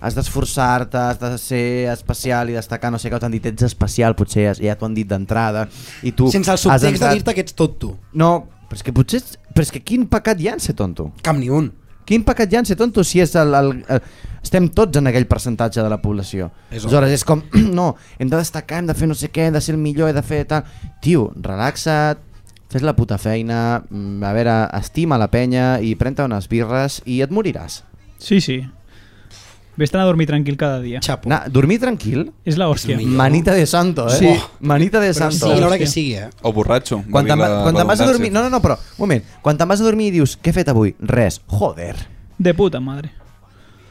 Speaker 5: has d'esforçar-te, has de ser especial i destacar, no sé què, t'han dit ets especial, potser ja, ja t'ho han dit d'entrada i tu
Speaker 2: Sense el
Speaker 5: has
Speaker 2: subtext
Speaker 5: entrat-
Speaker 2: de dir-te que ets tot tu.
Speaker 5: No, però és que potser... ets- Però és que quin pecat hi ha en ser tonto?
Speaker 2: Cap ni un.
Speaker 5: Quin pecat hi ha en ser tonto si és el, el, el, estem tots en aquell percentatge de la població?
Speaker 2: És
Speaker 5: Aleshores és com, no, hem de destacar, hem de fer no sé què, hem de ser el millor, he de fer tal... Tio, relaxa't, fes la puta feina, mm, a veure, estima la penya i pren-te unes birres i et moriràs.
Speaker 4: Sí, sí. Vés-te'n a dormir tranquil cada dia.
Speaker 2: Xapo.
Speaker 5: Na, dormir tranquil?
Speaker 4: És la hòstia.
Speaker 2: És
Speaker 5: Manita de santo, eh?
Speaker 2: Sí.
Speaker 5: Manita de
Speaker 2: Però
Speaker 5: santo.
Speaker 2: sigui l'hora que sigui, eh?
Speaker 3: O borratxo.
Speaker 5: Quan te'n
Speaker 3: valgui
Speaker 5: va,
Speaker 3: la
Speaker 5: quan te'n vas a dormir...
Speaker 3: redundància.
Speaker 5: No, no, no, però, un moment. Quan te'n vas a dormir i dius, què he fet avui? Res. Joder.
Speaker 4: De puta madre.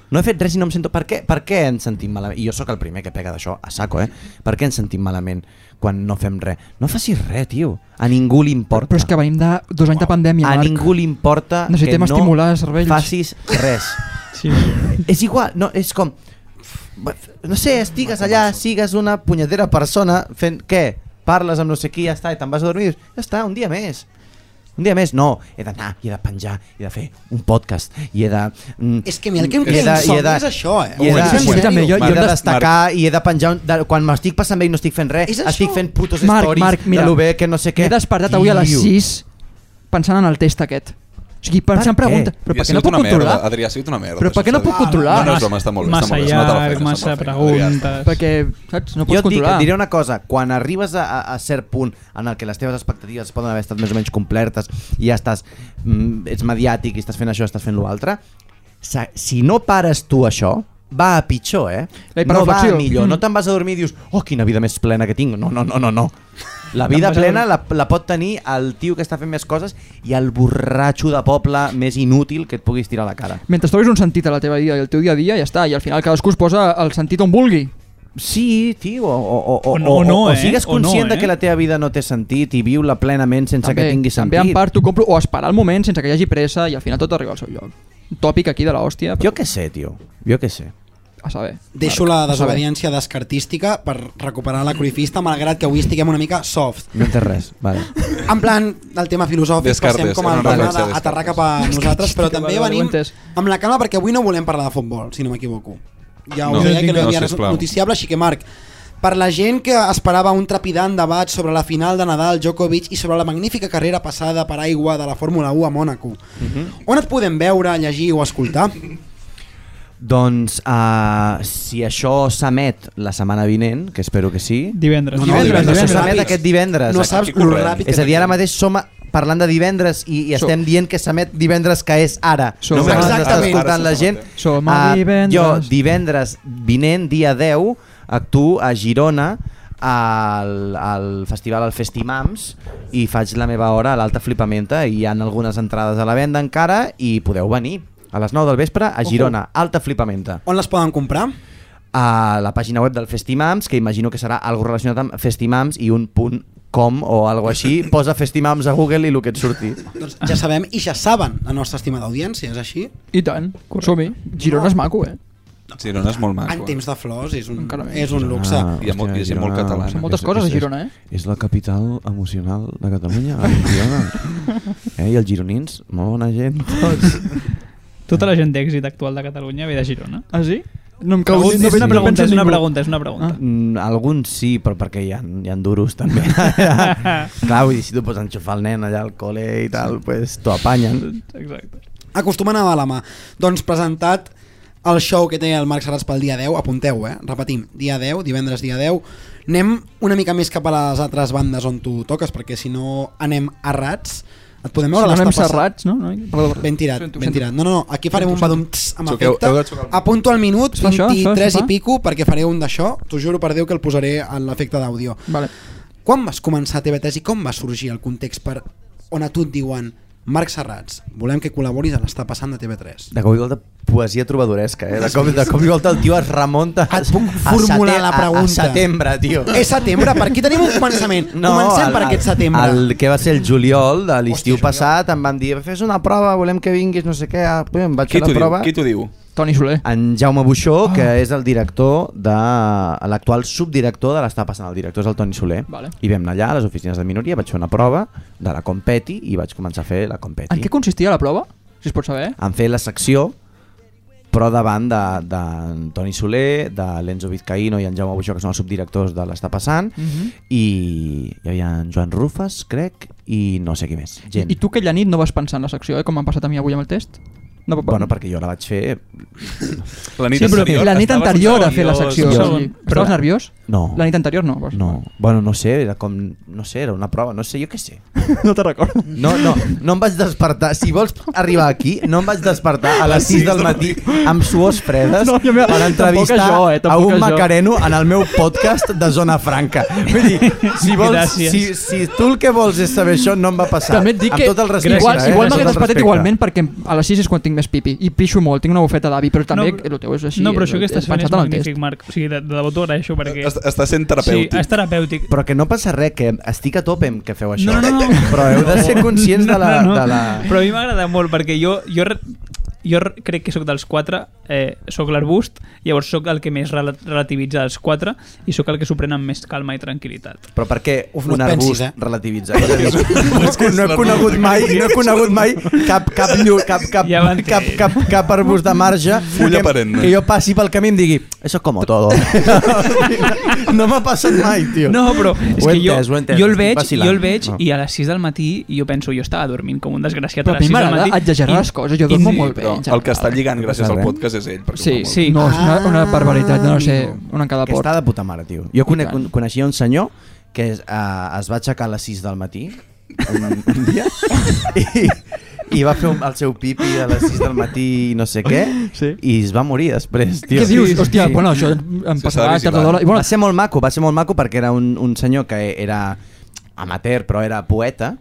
Speaker 5: No he fet res i no em sento... Per què, per què ens sentim malament? I jo sóc el primer que pega d'això, a saco, eh? Per què ens sentim malament quan no fem res? No facis res, tio. A ningú li importa.
Speaker 1: Però és que venim de dos anys de pandèmia,
Speaker 5: a
Speaker 1: Marc.
Speaker 5: ningú li importa
Speaker 1: Necessitem
Speaker 5: que no
Speaker 1: estimular els cervells.
Speaker 5: facis res.
Speaker 4: Sí.
Speaker 5: és igual, no, és com... No sé, estigues allà, sigues una punyetera persona fent què? Parles amb no sé qui, ja està, i te'n vas a dormir. i dius, Ja està, un dia més. Un dia més, no, he d'anar, i he de penjar, i he de fer un podcast, i he de... mm,
Speaker 2: És que a mi el que em
Speaker 5: i he
Speaker 2: crea
Speaker 5: de- i he
Speaker 2: insomni
Speaker 5: de-
Speaker 2: és això, eh?
Speaker 5: i he
Speaker 2: Ho dic en
Speaker 5: de- i he de-
Speaker 1: Escolta'm,
Speaker 2: sèrio.
Speaker 1: jo-
Speaker 5: jo, he de
Speaker 3: Marc,
Speaker 5: destacar i he de penjar un, de, quan m'estic passant bé i no estic fent res,
Speaker 2: És això.
Speaker 5: estic fent putos
Speaker 1: Marc,
Speaker 5: stories
Speaker 1: Marc, mira,
Speaker 5: de lo bé que no sé què.
Speaker 1: He despertat avui a les
Speaker 5: Tio.
Speaker 1: 6 pensant en el test aquest. O sigui, pensant
Speaker 5: Per què?
Speaker 1: pregunta... Però per
Speaker 3: I ha
Speaker 1: què no
Speaker 3: sigut
Speaker 1: puc
Speaker 3: una merda,
Speaker 1: controlar?
Speaker 3: Adrià, ha sigut una merda.
Speaker 1: Però per
Speaker 3: això,
Speaker 1: què no
Speaker 3: està
Speaker 1: puc
Speaker 3: bé.
Speaker 1: controlar?
Speaker 3: No, no, és broma, està molt bé.
Speaker 4: Ah, Massa
Speaker 3: està molt bé, es nota la feina,
Speaker 4: llarg,
Speaker 3: es nota la
Speaker 4: massa
Speaker 3: feina, Adrià, està
Speaker 4: preguntes.
Speaker 1: Perquè, saps, no
Speaker 5: Jo
Speaker 1: pots
Speaker 5: et dic,
Speaker 1: controlar.
Speaker 5: et diré una cosa, quan arribes a, a, a cert punt en el que les teves expectatives poden haver estat més o menys complertes i ja estàs, mm, ets mediàtic i estàs fent això, estàs fent l'altre, sa- si no pares tu això, va a pitjor, eh?
Speaker 1: La
Speaker 5: No va a
Speaker 1: hiperreflexió.
Speaker 5: millor, no
Speaker 1: Mm.
Speaker 5: te'n vas a dormir i dius, oh, quina vida més plena que tinc. No, no, no, no, no. La
Speaker 4: Te'n
Speaker 5: vida
Speaker 4: vas a
Speaker 5: plena
Speaker 4: dormir.
Speaker 5: la, la pot tenir el tio que està fent més coses i el borratxo de poble més inútil que et puguis tirar a la cara.
Speaker 1: Mentre trobis un sentit a la teva vida i al teu dia a dia, ja està. I al final cadascú es posa el sentit on vulgui.
Speaker 5: Sí, tio, o, o, o,
Speaker 4: O no- o no,
Speaker 5: o
Speaker 4: eh?
Speaker 5: sigues
Speaker 4: O no,
Speaker 5: conscient de
Speaker 4: eh?
Speaker 5: que la teva vida no té sentit i viu-la plenament sense que tingui sentit.
Speaker 1: també en part t'ho compro o esperar el moment sense que hi hagi pressa i al final tot arriba al seu lloc. Un tòpic aquí de l'hòstia, però
Speaker 5: Jo què sé, tio, jo què sé.
Speaker 1: a saber.
Speaker 2: Deixo la desobediència descartística per recuperar la cruifista, malgrat que avui estiguem una mica soft.
Speaker 5: No té res, vale.
Speaker 2: En plan, el tema filosòfic,
Speaker 3: Descartes, eh,
Speaker 2: passem com
Speaker 3: era
Speaker 2: al
Speaker 3: una
Speaker 2: tema
Speaker 3: referència a
Speaker 2: d'aterrar cap a nosaltres, però
Speaker 1: vale, vale,
Speaker 2: també
Speaker 1: ho
Speaker 2: venim
Speaker 1: entès.
Speaker 2: amb la calma perquè avui no volem parlar de futbol, si no m'equivoco. Ja
Speaker 3: No,
Speaker 2: us deia que
Speaker 3: no,
Speaker 2: no hi havia res
Speaker 3: sisplau.
Speaker 2: noticiable, així que Marc, per la gent que esperava un trepidant debat sobre la final de Nadal, Djokovic i sobre la magnífica carrera passada per aigua de la Fórmula 1 a Mònaco,
Speaker 5: Mhm.
Speaker 2: on et podem veure, llegir o escoltar?
Speaker 5: Doncs uh, si això s'emet la setmana vinent, que espero que sí...
Speaker 4: Divendres.
Speaker 2: No, no,
Speaker 1: Divendres,
Speaker 5: Això
Speaker 1: divendres.
Speaker 5: s'emet aquest divendres.
Speaker 2: No saps lo ràpid que
Speaker 5: És a dir,
Speaker 2: t'ha
Speaker 5: ara mateix som a- parlant de divendres i, i
Speaker 1: Som.
Speaker 5: estem dient que s'emet divendres que és ara.
Speaker 1: Som.
Speaker 5: Només ens està
Speaker 2: Exactament.
Speaker 5: escoltant la gent.
Speaker 1: Som a
Speaker 5: Ah,
Speaker 1: divendres.
Speaker 5: Jo, divendres vinent, dia 10, actuo a Girona al, al festival al Festimams i faig la meva hora a l'Alta Flipamenta i hi ha algunes entrades a la venda encara i podeu venir a les 9 del vespre a Girona, Alta Flipamenta
Speaker 2: On les poden comprar?
Speaker 5: a la pàgina web del Festimams, que imagino que serà algo relacionat amb Festimams i un punt com o algo així, posa Festimams a Google i el que et surti.
Speaker 2: Doncs ja sabem i ja saben la nostra estimada audiència, és així?
Speaker 1: I tant, som-hi. Girona és maco, eh?
Speaker 3: Girona és molt
Speaker 2: En
Speaker 3: maco.
Speaker 2: temps de flors és un,
Speaker 1: Encara més. Ah.
Speaker 2: és un luxe.
Speaker 5: Ah,
Speaker 3: Hi ha molt- hi ha gent molt catalana. Són
Speaker 1: moltes coses a Girona, eh?
Speaker 5: És, és la capital emocional de Catalunya, eh, Girona. Eh, I els gironins, molt bona gent, tots.
Speaker 4: Tota la gent d'èxit actual de Catalunya ve de Girona.
Speaker 1: Ah, sí? No em
Speaker 4: No,
Speaker 1: cau.
Speaker 4: és una pregunta, és una pregunta, és una pregunta.
Speaker 5: Mm, alguns sí, però perquè hi ha, hi ha duros també. Clar, vull dir, si tu pots enxufar el nen allà al col·le i tal, pues, t'ho apanyen.
Speaker 4: Exacte.
Speaker 2: Acostumen a anar de la mà. Doncs presentat el show que té el Marc Serrats pel dia 10, apunteu, eh? Repetim, dia 10, divendres dia 10. Anem una mica més cap a les altres bandes on tu toques, perquè si no anem errats. Et podem
Speaker 1: Si no
Speaker 2: veure les
Speaker 1: anem
Speaker 2: tapes?
Speaker 1: serrats, no? no? Perdó, perdó.
Speaker 2: Ben tirat,
Speaker 1: Sento,
Speaker 2: ben
Speaker 1: sento.
Speaker 2: tirat. No, no, no, aquí farem un badum tss amb
Speaker 3: Xoqueu, heu de
Speaker 2: efecte.
Speaker 3: xocar el-
Speaker 2: Apunto al minut,
Speaker 1: Es fa això, això,
Speaker 2: 23
Speaker 1: es
Speaker 2: i
Speaker 1: fa?
Speaker 2: pico, perquè faré un d'això. T'ho juro per Déu que el posaré en l'efecte d'àudio.
Speaker 1: Vale.
Speaker 2: Quan vas començar a TV3 i com va sorgir el context per on a tu et diuen Marc Serrats, volem que col·laboris a l'està passant de TV3?
Speaker 5: De cop i volta, poesia trobadoresca, eh? De cop, de cop i volta el tio es remunta a,
Speaker 2: Et puc
Speaker 5: a
Speaker 2: formular
Speaker 5: setem-
Speaker 2: la
Speaker 5: a-
Speaker 2: pregunta.
Speaker 5: A, setembre, tio.
Speaker 2: És setembre, per aquí tenim un començament. Comencem per aquest setembre.
Speaker 5: El que va ser el juliol de
Speaker 2: Hòstia,
Speaker 5: l'estiu
Speaker 2: juliol.
Speaker 5: passat em van dir fes una prova, volem que vinguis, no sé què. Ah, Em vaig
Speaker 3: Qui
Speaker 5: fer
Speaker 3: t'ho
Speaker 5: la
Speaker 3: diu?
Speaker 5: prova.
Speaker 3: Qui t'ho diu?
Speaker 1: Toni Soler.
Speaker 5: En Jaume Buixó,
Speaker 2: Ah.
Speaker 5: que és el director de l'actual subdirector de l'està passant. El director és el Toni Soler.
Speaker 1: Vale.
Speaker 5: I vam anar allà a les oficines de minoria, vaig fer una prova de la Competi i vaig començar a fer la Competi.
Speaker 1: En què consistia la prova? Si es pot saber.
Speaker 5: en fer la secció però davant de, de Toni Soler, de l'Enzo Vizcaíno i en Jaume Buixó, que són els subdirectors de l'Està Passant,
Speaker 1: Mhm.
Speaker 5: i hi havia en Joan Rufas, crec, i no sé qui més. Gent.
Speaker 1: I tu aquella nit no vas pensar en la secció, eh? Com m'ha passat a mi avui amb el test? No,
Speaker 5: Bueno, perquè jo la vaig fer...
Speaker 3: La nit
Speaker 1: Sí, però
Speaker 3: anterior.
Speaker 1: la nit
Speaker 3: estaves
Speaker 1: anterior a fer la
Speaker 3: nerviós.
Speaker 1: secció.
Speaker 5: Jo-
Speaker 1: o sigui, Estaves nerviós?
Speaker 5: No.
Speaker 1: La nit anterior no. Vas.
Speaker 5: No, bueno, no sé, era com... No sé, era una prova, no sé, jo què sé.
Speaker 1: no te recordo.
Speaker 5: No, no, no em vaig despertar. Si vols arribar aquí, no em vaig despertar a les 6 del matí amb suors fredes
Speaker 1: Ah, No, jo me-
Speaker 5: per entrevistar
Speaker 1: tampoc jo, eh,
Speaker 5: a
Speaker 1: tampoc
Speaker 5: un
Speaker 1: jo.
Speaker 5: macareno en el meu podcast de Zona Franca. Vull dir, si, vols,
Speaker 4: Gràcies.
Speaker 5: si, si tu el que vols és saber això, no em va passar.
Speaker 1: També et dic
Speaker 5: amb
Speaker 1: que
Speaker 5: tot el respecte,
Speaker 1: igual,
Speaker 5: eh?
Speaker 1: igual m'hagués
Speaker 5: Amb tot el
Speaker 1: despertat
Speaker 5: respecte.
Speaker 1: igualment perquè a les 6 és quan tinc més pipi i pixo molt, tinc una bufeta d'avi, però també
Speaker 4: però-
Speaker 1: el teu és així.
Speaker 4: no,
Speaker 1: eh,
Speaker 4: però això que estàs
Speaker 1: he
Speaker 4: fent és
Speaker 1: pensat en el
Speaker 4: magnífic, Marc. O sigui, de, de debò t'ho agraeixo perquè...
Speaker 3: Està, està sent
Speaker 4: sí,
Speaker 3: terapèutic.
Speaker 4: és terapèutic.
Speaker 5: Però que no passa res, que estic a tope amb que feu això.
Speaker 4: No, no, no.
Speaker 5: Però heu de ser conscients de la...
Speaker 4: No, no, no.
Speaker 5: De la...
Speaker 4: Però a mi m'agrada molt perquè jo, jo, re- jo re- crec que sóc dels quatre, eh, sóc l'arbust, llavors sóc el que més rela- relativitza dels quatre i sóc el que s'ho pren amb més calma i tranquil·litat.
Speaker 5: Però per què
Speaker 2: Uf, no
Speaker 5: un
Speaker 2: et pensis,
Speaker 5: arbust
Speaker 2: eh?
Speaker 5: relativitza? No, no he conegut mai, no he conegut mai cap, cap, llu, cap, cap,
Speaker 4: Ja
Speaker 5: cap,
Speaker 4: m'entenc.
Speaker 5: cap, cap, cap arbust de marge
Speaker 3: Fulla
Speaker 5: que,
Speaker 3: perenne.
Speaker 5: que jo passi pel camí i em digui eso es como todo. no m'ha passat mai, tio.
Speaker 4: No, però és
Speaker 5: Ho he
Speaker 4: que jo,
Speaker 5: entès, ho he entès,
Speaker 4: jo el
Speaker 5: estic
Speaker 4: veig,
Speaker 5: vacil·lant.
Speaker 4: jo el veig
Speaker 5: No.
Speaker 4: i a les 6 del matí jo penso, jo estava dormint com un desgraciat
Speaker 1: Però
Speaker 4: a
Speaker 1: a mi
Speaker 4: les 6 del
Speaker 1: m'agrada
Speaker 4: matí.
Speaker 1: exagerar
Speaker 4: i-
Speaker 1: les coses, jo
Speaker 4: i-
Speaker 1: dormo molt bé.
Speaker 3: Però
Speaker 1: en
Speaker 3: el que està
Speaker 1: general.
Speaker 3: lligant gràcies al podcast és ell. perquè ho fa
Speaker 1: Sí,
Speaker 3: molt
Speaker 1: sí,
Speaker 3: bé.
Speaker 1: no, és una,
Speaker 4: Ah.
Speaker 1: una barbaritat, no, no sé,
Speaker 2: amigo.
Speaker 1: una en cada
Speaker 5: que
Speaker 1: port.
Speaker 5: està de puta mare, tio. Jo conec,
Speaker 1: tant.
Speaker 5: coneixia un senyor que es, uh, es va aixecar a les 6 del matí un, un dia i, i va fer un, el seu pipi a les 6 del matí i no sé què
Speaker 1: Sí.
Speaker 5: i es va morir després, tio.
Speaker 1: Què dius? Hòstia, bueno, això em
Speaker 3: Sí,
Speaker 1: passarà
Speaker 3: s'ha de
Speaker 1: tard o
Speaker 3: vigilar.
Speaker 1: d'hora. I
Speaker 5: Bueno,
Speaker 1: bueno,
Speaker 5: va ser molt maco, va ser molt maco perquè era un, un senyor que era amateur però era poeta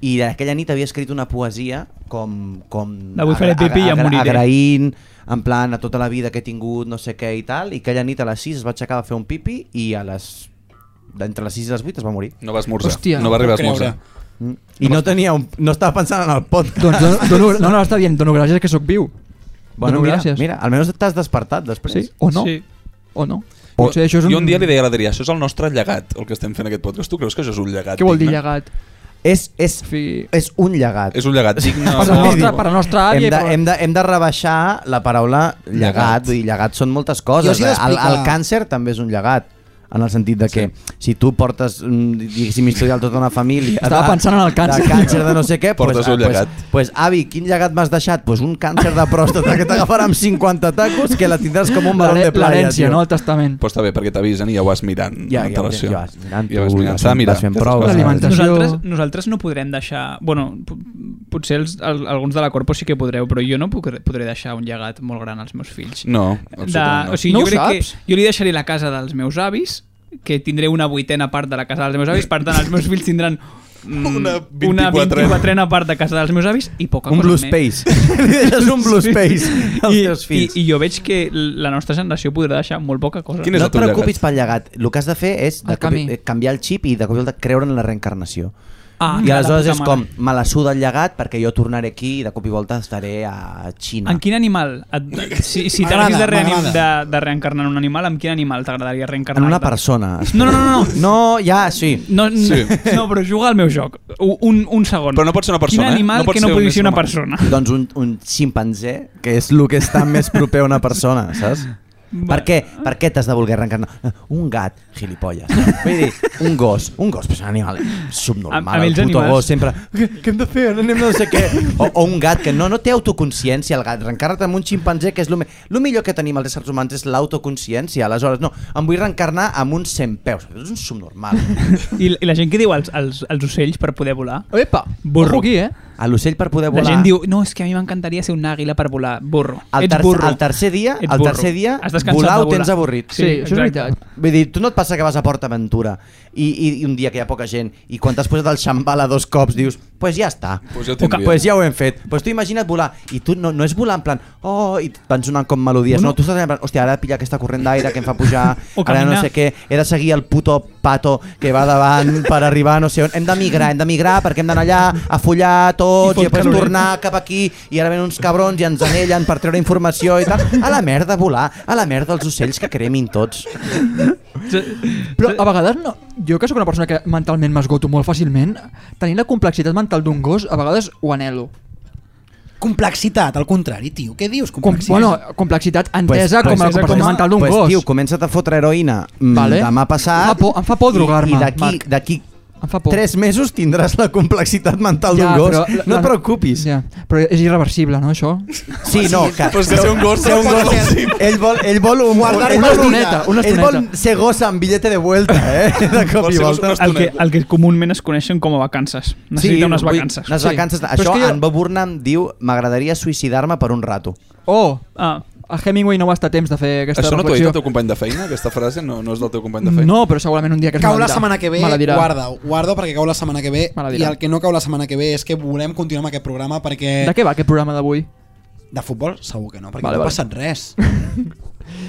Speaker 5: i aquella nit havia escrit una poesia com... com
Speaker 4: Avui faré
Speaker 5: agra-
Speaker 4: pipí i em
Speaker 5: agra-
Speaker 4: moriré.
Speaker 5: Agraint, en plan, a tota la vida que he tingut, no sé què i tal, i aquella nit a les 6 es va aixecar a fer un pipi i a les... d'entre les 6 i les 8 es va morir.
Speaker 3: No va esmorzar.
Speaker 1: Hòstia,
Speaker 3: no va arribar a
Speaker 2: puc creure.
Speaker 3: esmorzar.
Speaker 5: I no tenia un... no estava pensant en el podcast.
Speaker 1: doncs dono, dono, no, no, està dient, dono gràcies que sóc viu.
Speaker 5: bueno,
Speaker 1: dono
Speaker 5: mira,
Speaker 1: gràcies.
Speaker 5: mira, almenys t'has despertat després.
Speaker 1: Sí? O no?
Speaker 4: Sí.
Speaker 1: O no?
Speaker 3: Jo,
Speaker 1: Potser això és un...
Speaker 3: jo un dia li deia a l'Adrià, això és el nostre llegat, el que estem fent aquest podcast. Tu creus que això és un llegat?
Speaker 1: Què vol dir
Speaker 3: digne?
Speaker 1: llegat?
Speaker 5: És, és,
Speaker 1: O sigui,
Speaker 5: és un llegat.
Speaker 3: És un llegat digne.
Speaker 1: Per la
Speaker 3: bo.
Speaker 1: nostra- per la nostra àvia i
Speaker 5: Hem de,
Speaker 1: per la-
Speaker 5: hem, de, hem de rebaixar la paraula
Speaker 3: Llegat.
Speaker 5: llegat. Vull dir, llegat són moltes
Speaker 2: Jo
Speaker 5: coses.
Speaker 2: us he
Speaker 5: eh? El, el
Speaker 2: d'explicar-
Speaker 5: càncer també és un llegat. En el sentit de que sí. si tu portes, mm, diguéssim, historial tota una família...
Speaker 1: Estava
Speaker 5: de-
Speaker 1: pensant en el càncer.
Speaker 5: De càncer de no sé què...
Speaker 3: Portes
Speaker 5: ah,
Speaker 3: un llegat.
Speaker 5: Pues, pues, avi, quin llegat m'has deixat? Pues un càncer de pròstata que t'agafarà amb 50 tacos que la tindràs com un balon de playa.
Speaker 1: L'herència,
Speaker 5: tio.
Speaker 1: no? El testament.
Speaker 3: Però està bé, perquè t'avisen i ja ho vas mirant.
Speaker 5: Ja,
Speaker 3: amb
Speaker 5: ja, ja,
Speaker 3: antelació.
Speaker 5: ja vas mirant,
Speaker 3: Ja vas
Speaker 5: tu,
Speaker 3: mirant.
Speaker 5: vas
Speaker 3: S'ha de mirar.
Speaker 5: fent
Speaker 3: Aquestes
Speaker 5: proves.
Speaker 3: coses.
Speaker 1: L'alimentació.
Speaker 4: Nosaltres, nosaltres no podrem deixar... Bueno, po- potser els, el, alguns de la Corpo sí que podreu, però jo no puc, podré deixar un llegat molt gran als meus fills.
Speaker 3: No,
Speaker 4: de,
Speaker 3: absolutament no.
Speaker 4: o sigui,
Speaker 1: No
Speaker 4: no
Speaker 1: ho
Speaker 4: jo crec
Speaker 1: saps.
Speaker 4: que jo li deixaré la casa dels meus avis, que tindré una vuitena part de la casa dels meus avis, per tant els meus fills tindran mm,
Speaker 3: Una
Speaker 4: una
Speaker 3: 24ena.
Speaker 4: 24ena part de casa dels meus avis i poca
Speaker 5: Un
Speaker 4: cosa
Speaker 5: blue
Speaker 4: més.
Speaker 5: space.
Speaker 1: eh?
Speaker 5: Li deixes un blue space als
Speaker 4: I,
Speaker 5: teus
Speaker 4: i,
Speaker 5: fills.
Speaker 4: i jo veig que la nostra generació podrà deixar molt poca cosa.
Speaker 3: Quin és
Speaker 5: no
Speaker 3: el
Speaker 5: et
Speaker 3: teu
Speaker 5: preocupis
Speaker 3: llegat?
Speaker 5: pel llegat. El que has de fer és de
Speaker 1: El camí.
Speaker 5: cop- eh, canviar el xip i de cop i volta creure en la reencarnació.
Speaker 4: Ah,
Speaker 5: I
Speaker 4: que la
Speaker 5: aleshores
Speaker 4: puta
Speaker 5: és
Speaker 4: mare.
Speaker 5: com, me la suda el llegat perquè jo tornaré aquí i de cop i volta estaré a Xina.
Speaker 4: En quin animal? Et, si si
Speaker 2: M'agrada,
Speaker 4: t'haguessis de, reanim, de,
Speaker 2: m'agrada.
Speaker 4: de reencarnar en un animal, amb quin animal t'agradaria reencarnar?
Speaker 5: En una persona.
Speaker 4: No, no, no, no.
Speaker 5: No, ja, sí.
Speaker 4: No,
Speaker 3: Sí.
Speaker 4: sí. no, però juga al meu joc. U- Un, un segon.
Speaker 3: Però no pot ser una persona, eh?
Speaker 4: Quin
Speaker 3: No
Speaker 4: animal
Speaker 3: pot
Speaker 4: que no
Speaker 3: ser un
Speaker 4: pugui ser
Speaker 3: ésser
Speaker 4: una
Speaker 3: humà.
Speaker 4: persona?
Speaker 5: Doncs un, un ximpanzé, que és el que està més proper a una persona, saps? Per què, per què t'has de voler reencarnar? Un gat, gilipolles. Vull dir, un gos, un gos, però és un animal subnormal.
Speaker 4: A- a mi
Speaker 5: el
Speaker 4: els
Speaker 5: puto
Speaker 4: animals-
Speaker 5: gos sempre, què, què hem de fer? Ara anem no sé què. O, o un gat que no, no té autoconsciència, el gat. Reencarna't amb un ximpanzé, que és el, me... lo millor que tenim els éssers humans és l'autoconsciència. Aleshores, no, em vull reencarnar amb un centpeus. És un subnormal.
Speaker 4: I, I la gent que diu els, els, els ocells per poder volar.
Speaker 1: Epa, burro
Speaker 4: Burro.
Speaker 1: aquí, eh?
Speaker 5: A l'ocell per poder
Speaker 4: La
Speaker 5: volar...
Speaker 4: gent diu, no, és que a mi m'encantaria ser una àguila per volar. Burro.
Speaker 5: El,
Speaker 4: Ets
Speaker 5: ter
Speaker 4: burro.
Speaker 5: el tercer dia,
Speaker 4: Ets
Speaker 5: el
Speaker 4: burro.
Speaker 5: tercer dia
Speaker 4: Has descansat
Speaker 5: volar
Speaker 4: de
Speaker 5: ho tens avorrit.
Speaker 1: Sí, això és
Speaker 4: exacte.
Speaker 1: veritat.
Speaker 5: Vull dir, tu no et passa que vas a Port Aventura i, i, i un dia que hi ha poca gent i quan t'has posat el xambala dos cops dius, pues ja està,
Speaker 3: Pues ja ho
Speaker 5: O que-
Speaker 3: tindria."
Speaker 5: pues ja ho hem fet. Pues tu imagina't volar i tu no, no és volar en plan, oh, i et van sonant com melodies, no, tu estàs en plan, hòstia, ara he de pillar aquesta corrent d'aire que em fa pujar,
Speaker 4: O
Speaker 5: ara no
Speaker 4: caminar.
Speaker 5: sé què, he de seguir el puto pato que va davant per arribar a no sé on, hem de migrar, hem de migrar perquè hem d'anar allà a follar tots
Speaker 4: I fot eh?
Speaker 5: i, i després
Speaker 4: carolet.
Speaker 5: tornar anar cap aquí i ara ven uns cabrons i ens anellen per treure informació i tal. A la merda volar, a la merda els ocells que cremin tots.
Speaker 1: Però a vegades no... Jo que sóc una persona que mentalment m'esgoto molt fàcilment, tenir la complexitat mental d'un gos, a vegades ho anhelo.
Speaker 2: Complexitat, al contrari, tio. Què dius,
Speaker 1: Com,
Speaker 2: complexitat?
Speaker 1: bueno, complexitat entesa pues, com a complexitat mental d'un
Speaker 5: pues,
Speaker 1: gos.
Speaker 5: Tio, comença't a fotre heroïna
Speaker 1: Vale.
Speaker 5: vale. demà passat.
Speaker 1: Em fa por- em fa por drogar-me,
Speaker 5: I, i d'aquí-
Speaker 1: Marc.
Speaker 5: d'aquí
Speaker 1: Em fa por.
Speaker 5: tres mesos tindràs la complexitat mental d'un gos.
Speaker 1: però-
Speaker 5: no et preocupis.
Speaker 1: Ja, però és irreversible, no, això?
Speaker 5: Sí, no, que,
Speaker 3: Però és que ser un gos
Speaker 5: ser un
Speaker 3: no
Speaker 5: gos
Speaker 3: pot
Speaker 5: ell,
Speaker 3: ser-
Speaker 5: ell, vol, ell vol un,
Speaker 2: Guardar
Speaker 5: ell
Speaker 2: una
Speaker 5: vol
Speaker 1: estoneta, una
Speaker 5: ell
Speaker 1: estoneta.
Speaker 5: vol ser gos amb billete de vuelta, eh? De cop
Speaker 3: Vol
Speaker 5: i
Speaker 3: ser
Speaker 5: volta.
Speaker 3: una
Speaker 4: El que,
Speaker 3: estoneta.
Speaker 4: el que comúment es coneixen com a vacances. Necessita unes
Speaker 5: vull-
Speaker 4: vacances.
Speaker 5: Unes
Speaker 1: Sí.
Speaker 5: vacances.
Speaker 1: Però és
Speaker 5: Això
Speaker 1: que jo-
Speaker 5: en Bob Burnham diu m'agradaria suïcidar-me per un rato.
Speaker 1: Oh,
Speaker 4: Ah,
Speaker 1: a Hemingway no va estar temps de fer aquesta
Speaker 3: Això no t'ho ha dit
Speaker 1: reflexió.
Speaker 3: el teu company de feina? Aquesta frase no, no és del teu company de feina?
Speaker 1: no, però segurament un dia que es
Speaker 2: cau
Speaker 1: me
Speaker 2: la
Speaker 1: dirà.
Speaker 2: setmana que ve,
Speaker 1: Me la dirà.
Speaker 2: guarda, guarda perquè cau la setmana que ve
Speaker 1: Me la
Speaker 2: i
Speaker 1: dirà.
Speaker 2: el que no cau la setmana que ve és que volem continuar amb aquest programa perquè
Speaker 1: De què va aquest programa d'avui?
Speaker 2: de futbol segur que no, perquè
Speaker 1: Vale,
Speaker 2: no ha
Speaker 1: vale.
Speaker 2: passat res.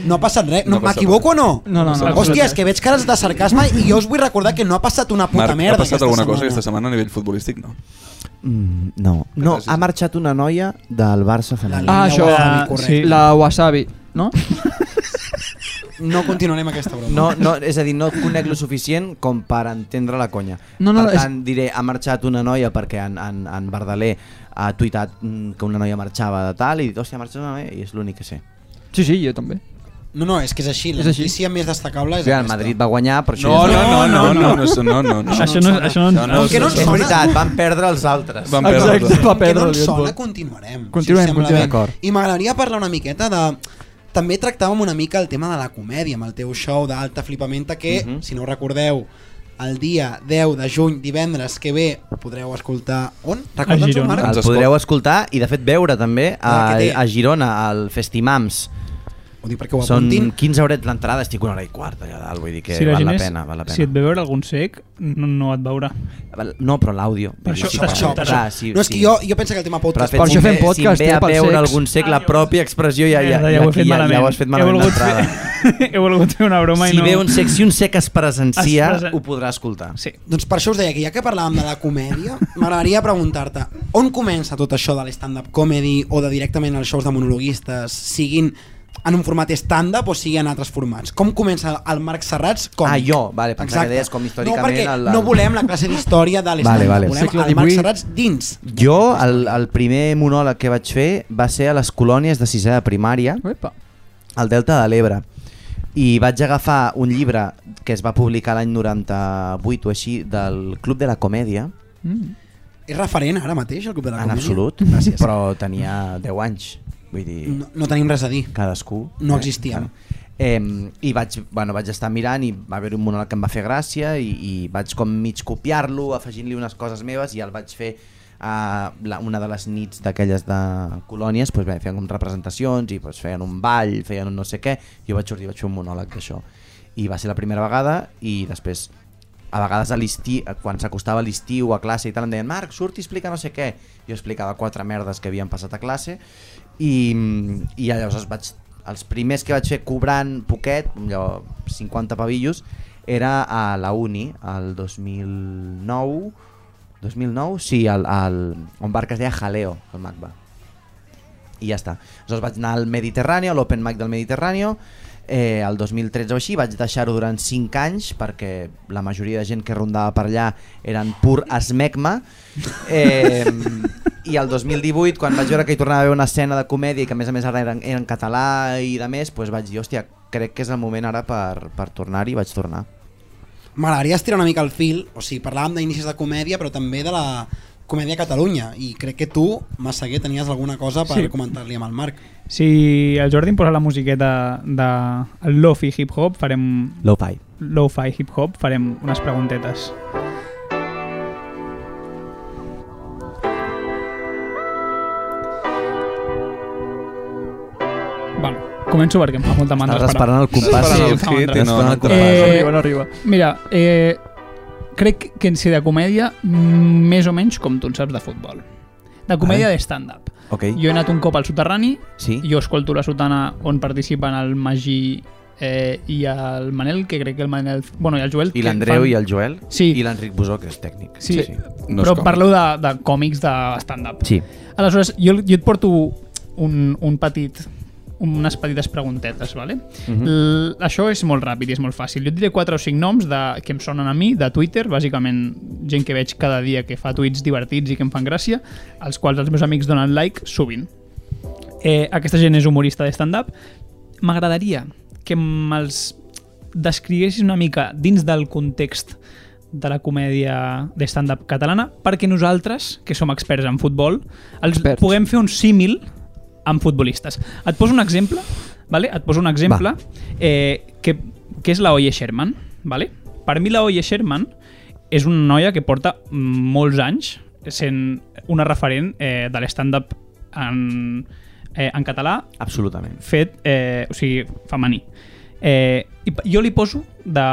Speaker 2: No ha passat res. No,
Speaker 3: No ha passat
Speaker 2: M'equivoco o no?
Speaker 1: No, no, no.
Speaker 2: Hòstia, és que veig cares de sarcasme i jo us vull recordar que no ha passat una puta
Speaker 3: Marc,
Speaker 2: merda
Speaker 3: ha passat
Speaker 2: aquesta
Speaker 3: alguna
Speaker 2: setmana.
Speaker 3: cosa aquesta setmana a nivell futbolístic? No.
Speaker 5: Mm, no. No,
Speaker 3: Gràcies.
Speaker 5: ha marxat una noia del Barça femení.
Speaker 2: La
Speaker 1: Ah, això,
Speaker 2: wasabi,
Speaker 1: sí.
Speaker 2: correcte.
Speaker 1: la wasabi, no?
Speaker 2: No continuarem aquesta broma.
Speaker 5: No, no, és a dir, no et conec lo suficient com per entendre la conya.
Speaker 1: No, no,
Speaker 5: per
Speaker 1: és-
Speaker 5: tant, diré, ha marxat una noia perquè en, en, en Verdaler ha tuitat mm, que una noia marxava de tal i dit, hòstia, ha marxat una noia i és l'únic que sé.
Speaker 1: Sí, sí, jo també.
Speaker 2: no, no, és que és així. La
Speaker 1: És així.
Speaker 2: notícia més destacable
Speaker 5: O
Speaker 2: és
Speaker 5: sigui, el
Speaker 2: aquesta.
Speaker 5: Madrid va guanyar, però això...
Speaker 3: No,
Speaker 5: ja
Speaker 3: no,
Speaker 5: és-
Speaker 3: no, no, no, no, no, no, no, no.
Speaker 4: això no, és- això
Speaker 3: Això
Speaker 4: no,
Speaker 3: no
Speaker 4: no,
Speaker 3: és-
Speaker 2: Que no ens
Speaker 5: És
Speaker 2: sona.
Speaker 5: veritat, van perdre els altres.
Speaker 3: Van perdre.
Speaker 1: Exacte,
Speaker 3: perdó.
Speaker 1: va
Speaker 2: que no
Speaker 1: perdre el
Speaker 2: ens sona,
Speaker 1: Liverpool.
Speaker 2: continuarem. si
Speaker 1: Continuem,
Speaker 2: us sembla
Speaker 1: continuem.
Speaker 2: bé.
Speaker 5: D'acord.
Speaker 2: I m'agradaria parlar una miqueta de... També tractàvem una mica el tema de la comèdia amb el teu show d'Alta Flipamenta que,
Speaker 1: Mhm.
Speaker 2: si no ho recordeu, el dia 10 de juny, divendres que ve, podreu escoltar on? Recorda'ns
Speaker 4: Girona.
Speaker 2: Marc?
Speaker 3: Ens
Speaker 5: El
Speaker 3: escolta.
Speaker 5: podreu escoltar i de fet veure també a,
Speaker 2: Ah, que té.
Speaker 5: a Girona, al Festimams.
Speaker 2: Ho dic perquè ho
Speaker 5: Són
Speaker 2: apuntin.
Speaker 5: 15 horets l'entrada, estic una hora i quarta allà dalt, vull dir que
Speaker 4: si la
Speaker 5: val
Speaker 4: gent
Speaker 5: la
Speaker 4: és,
Speaker 5: pena, val la pena.
Speaker 4: si et ve veure algun sec, no, no et veurà.
Speaker 5: Val- No, però l'àudio.
Speaker 4: Per
Speaker 5: Vull dir,
Speaker 4: això-
Speaker 5: sí,
Speaker 1: Ah,
Speaker 4: per això- per
Speaker 5: clar,
Speaker 4: això.
Speaker 5: sí,
Speaker 2: No, és que
Speaker 5: sí.
Speaker 2: jo, jo penso que el tema
Speaker 5: Però
Speaker 2: podcast...
Speaker 1: Per
Speaker 5: fet,
Speaker 1: això
Speaker 5: si
Speaker 1: fem
Speaker 5: ve-
Speaker 1: podcast,
Speaker 5: si em
Speaker 1: eh,
Speaker 5: ve a
Speaker 1: pel
Speaker 5: veure
Speaker 1: sex.
Speaker 5: algun sec, la pròpia expressió ja, ja,
Speaker 4: Ah, ja, ho he fet
Speaker 5: ja,
Speaker 4: malament.
Speaker 5: ja ho has fet
Speaker 4: he
Speaker 5: malament
Speaker 4: volgut,
Speaker 5: d'entrada.
Speaker 4: fer, he volgut fer una broma
Speaker 5: Si
Speaker 4: i no...
Speaker 5: ve un sec, si un sec es presencia,
Speaker 4: Es presen-
Speaker 5: ho podrà escoltar.
Speaker 4: Sí.
Speaker 2: Doncs per això us deia que ja que parlàvem de la comèdia, m'agradaria preguntar-te on comença tot això de l'stand-up comedy o de directament els shows de monologuistes, siguin en un format stand-up o sigui en altres formats. Com comença el Marc Serrats? Com?
Speaker 5: Ah, jo, vale, pensava que deies com històricament
Speaker 2: No, perquè
Speaker 5: el-
Speaker 2: el,
Speaker 5: el-
Speaker 2: no volem la classe d'història de l'stand-up,
Speaker 5: Vale, vale.
Speaker 2: volem
Speaker 1: Segle
Speaker 2: el Marc
Speaker 1: XVIII.
Speaker 2: Serrats dins.
Speaker 5: Jo, el, el primer monòleg que vaig fer va ser a les colònies de sisè de primària,
Speaker 1: Epa.
Speaker 5: al Delta de l'Ebre i vaig agafar un llibre que es va publicar l'any 98 o així del Club de la Comèdia
Speaker 1: Mm.
Speaker 2: És referent ara mateix el Club de la
Speaker 5: en
Speaker 2: Comèdia?
Speaker 5: absolut,
Speaker 2: Gràcies.
Speaker 5: però tenia 10 anys vull dir,
Speaker 2: No, no tenim res a dir.
Speaker 5: cadascú
Speaker 2: No existíem.
Speaker 5: Eh, i vaig, bueno, vaig estar mirant i va haver un monòleg que em va fer gràcia i, i vaig com mig copiar-lo, afegint-li unes coses meves i el vaig fer a la, una de les nits d'aquelles de colònies, doncs, bé, feien com representacions i doncs, feien un ball, feien un no sé què jo vaig sortir i vaig fer un monòleg d'això i va ser la primera vegada i després a vegades a l'estiu, eh, quan s'acostava l'estiu a classe i tal, em deien Marc, surt i explica no sé què. Jo explicava quatre merdes que havien passat a classe i, i llavors vaig, els primers que vaig fer cobrant poquet, allò, 50 pavillos, era a la uni, al 2009, 2009, sí, al, al, on bar que es deia Jaleo, el MACBA i ja està. Aleshores vaig anar al Mediterrani, a l'Open Mic del Mediterrani, eh, el 2013 o així, vaig deixar-ho durant 5 anys perquè la majoria de gent que rondava per allà eren pur esmecma eh, i el 2018, quan vaig veure que hi tornava a haver una escena de comèdia i que a més a més ara era, en- era en català i de més, doncs vaig dir, hòstia, crec que és el moment ara per, per tornar-hi, vaig tornar.
Speaker 2: M'agradaria estirar una mica el fil, o sigui, parlàvem d'inicis de comèdia, però també de la comèdia a Catalunya, i crec que tu, Massaguer, tenies alguna cosa per
Speaker 4: Sí.
Speaker 2: sí. comentar-li amb el Marc.
Speaker 4: Si el Jordi em posa la musiqueta de el lo-fi hip-hop, farem
Speaker 5: Lo-fi.
Speaker 4: lo-fi hip-hop, farem unes preguntetes. Vale, començo perquè em fa molta mandra
Speaker 5: Estàs esperant el compàs.
Speaker 4: Sí,
Speaker 3: Esperant el
Speaker 4: fa
Speaker 3: hit
Speaker 4: mandra.
Speaker 3: i
Speaker 5: Esperant
Speaker 3: no, no
Speaker 5: el
Speaker 3: te
Speaker 5: compàs.
Speaker 1: No
Speaker 4: Eh,
Speaker 1: arriba, no arriba.
Speaker 4: Mira, eh, crec que en sé de comèdia mm, més o menys com tu en saps de futbol. De comèdia
Speaker 5: Vale.
Speaker 4: de stand-up.
Speaker 5: Ok,
Speaker 4: Jo he anat un cop al soterrani,
Speaker 5: sí.
Speaker 4: jo escolto la sotana on participen el Magí eh, i el Manel, que crec que el Manel... Bueno, i el Joel...
Speaker 5: I l'Andreu i el Joel
Speaker 4: Sí.
Speaker 5: i l'Enric Busó, que és tècnic.
Speaker 4: Sí, sí.
Speaker 5: sí.
Speaker 3: No
Speaker 4: No
Speaker 3: és
Speaker 4: però
Speaker 3: còmic.
Speaker 4: parlo de, de còmics de stand-up.
Speaker 5: sí.
Speaker 4: Aleshores, jo, jo et porto un, un petit unes petites preguntetes, vale? L això és molt ràpid i és molt fàcil. Jo et diré 4 o 5 noms de, que em sonen a mi, de Twitter, bàsicament gent que veig cada dia que fa tuits divertits i que em fan gràcia, als quals els meus amics donen like sovint. Eh, aquesta gent és humorista de stand-up. M'agradaria que me'ls descriguessis una mica dins del context de la comèdia de stand-up catalana perquè nosaltres, que som experts en futbol, els
Speaker 1: Experts.
Speaker 4: puguem fer un símil amb futbolistes. Et poso un exemple, vale? et poso un exemple eh, que, que és la Oye Sherman. Vale? Per mi la Oye Sherman és una noia que porta molts anys sent una referent eh, de l'stand-up en, eh, en català
Speaker 5: Absolutament.
Speaker 4: fet, eh, o sigui, femení. Eh, i pa- jo li poso de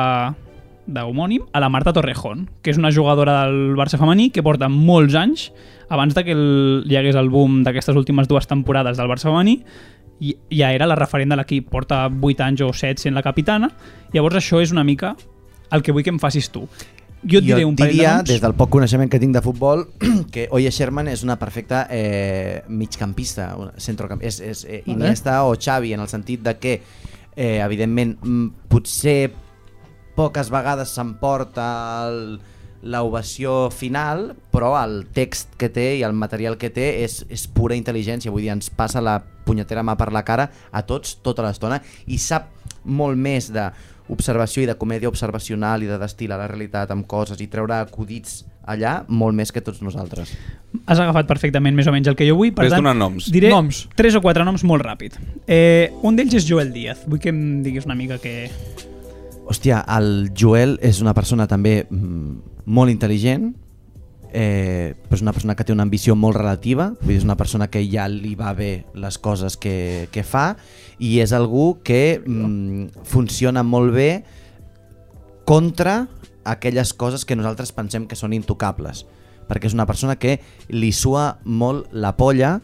Speaker 4: d'homònim a la Marta Torrejón, que és una jugadora del Barça femení que porta molts anys abans de que el, hi hagués el boom d'aquestes últimes dues temporades del Barça femení i ja era la referent de l'equip porta 8 anys o 7 sent la capitana llavors això és una mica el que vull que em facis tu jo et diré un parell
Speaker 5: diria,
Speaker 4: de
Speaker 5: des
Speaker 4: noms
Speaker 5: del poc coneixement que tinc de futbol, que Oye Sherman és una perfecta eh, migcampista, una- centrocamp, és, és eh,
Speaker 4: Vale.
Speaker 5: Iniesta o Xavi, en el sentit de que, eh, evidentment, mm, potser poques vegades s'emporta el- l'ovació final, però el text que té i el material que té és, és pura intel·ligència, vull dir, ens passa la punyetera mà per la cara a tots tota l'estona i sap molt més de observació i de comèdia observacional i de destilar la realitat amb coses i treure acudits allà molt més que tots nosaltres.
Speaker 4: has agafat perfectament més o menys el que jo vull. Per
Speaker 3: Vés
Speaker 4: tant,
Speaker 3: donant noms.
Speaker 4: Diré noms.
Speaker 1: Noms.
Speaker 4: tres o quatre noms molt ràpid. Eh, un d'ells és Joel Díaz. Vull que em diguis una mica que...
Speaker 5: Hòstia, el Joel és una persona també mm, molt intel·ligent, eh, però és una persona que té una ambició molt relativa, vull dir, és una persona que ja li va bé les coses que, que fa i és algú que mm, funciona molt bé contra aquelles coses que nosaltres pensem que són intocables, perquè és una persona que li sua molt la polla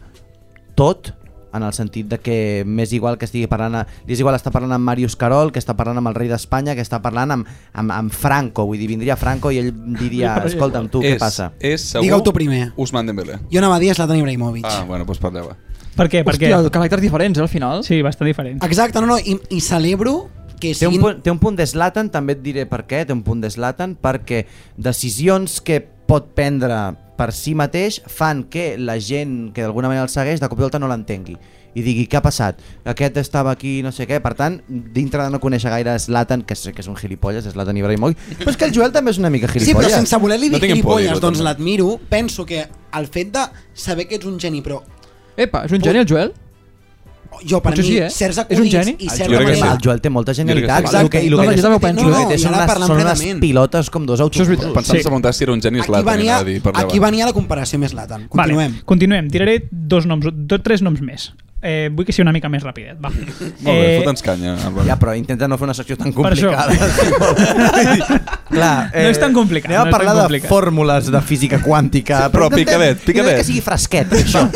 Speaker 5: tot en el sentit de que m'és igual que estigui parlant, a, li és igual estar parlant amb Màrius Carol, que està parlant amb el rei d'Espanya, que està parlant amb, amb, amb Franco, vull dir, vindria Franco i ell diria, escolta'm tu, què
Speaker 3: És-
Speaker 5: passa?
Speaker 3: És segur...
Speaker 2: Digue-ho tu primer.
Speaker 3: Usman Dembélé.
Speaker 2: Jo anava a dir Zlatan Ibrahimovic.
Speaker 3: Ah, bueno, doncs parleu.
Speaker 4: Per què? Per què?
Speaker 1: Hòstia, caràcters diferents, eh, al final.
Speaker 4: Sí, bastant diferent.
Speaker 5: Ah,
Speaker 2: Exacte, no, no, i, i celebro que
Speaker 5: Té un,
Speaker 2: siguin...
Speaker 5: punt, té un punt de Zlatan, també et diré per què, té un punt de Zlatan, perquè decisions que pot prendre per si mateix fan que la gent que d'alguna manera el segueix de cop i volta no l'entengui i digui què ha passat, aquest estava aquí, no sé què, per tant, dintre de no conèixer gaire Zlatan, que sé que és un gilipolles, Zlatan Ibrahimovic, però és que el Joel també és una mica
Speaker 2: Sí, però
Speaker 5: gilipolles.
Speaker 2: sense voler-li
Speaker 3: No
Speaker 2: dir
Speaker 3: tinguin por de dir-ho,
Speaker 2: gilipolles, doncs
Speaker 3: també.
Speaker 2: l'admiro. Penso que el fet de saber que ets un geni, però
Speaker 1: Epa, és un geni el Joel?
Speaker 2: jo per
Speaker 1: Potser
Speaker 2: mi,
Speaker 1: sí, eh?
Speaker 2: certs
Speaker 1: És un
Speaker 2: acudits
Speaker 1: geni.
Speaker 2: i
Speaker 3: El
Speaker 2: certa
Speaker 3: Ah, Jo crec que
Speaker 5: Home,
Speaker 2: manera...
Speaker 5: el Joel té molta
Speaker 3: Jo
Speaker 5: genialitat.
Speaker 3: crec
Speaker 5: el que,
Speaker 2: sí.
Speaker 5: i el
Speaker 1: No,
Speaker 5: que
Speaker 1: jo també ho penso.
Speaker 5: el
Speaker 1: No,
Speaker 5: que
Speaker 1: no,
Speaker 5: té
Speaker 2: i
Speaker 5: són
Speaker 2: ara
Speaker 5: unes,
Speaker 2: parlant
Speaker 5: són unes
Speaker 2: plenament.
Speaker 5: pilotes com dos
Speaker 1: Això és veritat.
Speaker 5: autobusos.
Speaker 3: Pensant
Speaker 4: Sí.
Speaker 3: se preguntar si era un geni
Speaker 2: Aquí
Speaker 3: Zlatan.
Speaker 2: venia,
Speaker 3: anava a dir, parleu.
Speaker 2: aquí venia la comparació més Zlatan. Continuem.
Speaker 4: Vale, continuem. Tiraré dos noms, dos, tres noms més. Eh, vull que sigui una mica més ràpidet. Va. Eh,
Speaker 3: Molt bé, fota'ns canya. Álvaro.
Speaker 5: Ja, però intenta no fer una secció tan
Speaker 4: Per això.
Speaker 5: complicada. si vol. Clar, eh,
Speaker 4: No és tan complicat,
Speaker 5: Anem
Speaker 4: no
Speaker 5: a
Speaker 4: és tan
Speaker 5: parlar de
Speaker 4: complicat.
Speaker 5: fórmules de física quàntica.
Speaker 3: però
Speaker 5: intentem-
Speaker 3: picadet,
Speaker 5: intentem
Speaker 3: picadet.
Speaker 5: Que sigui fresquet, això.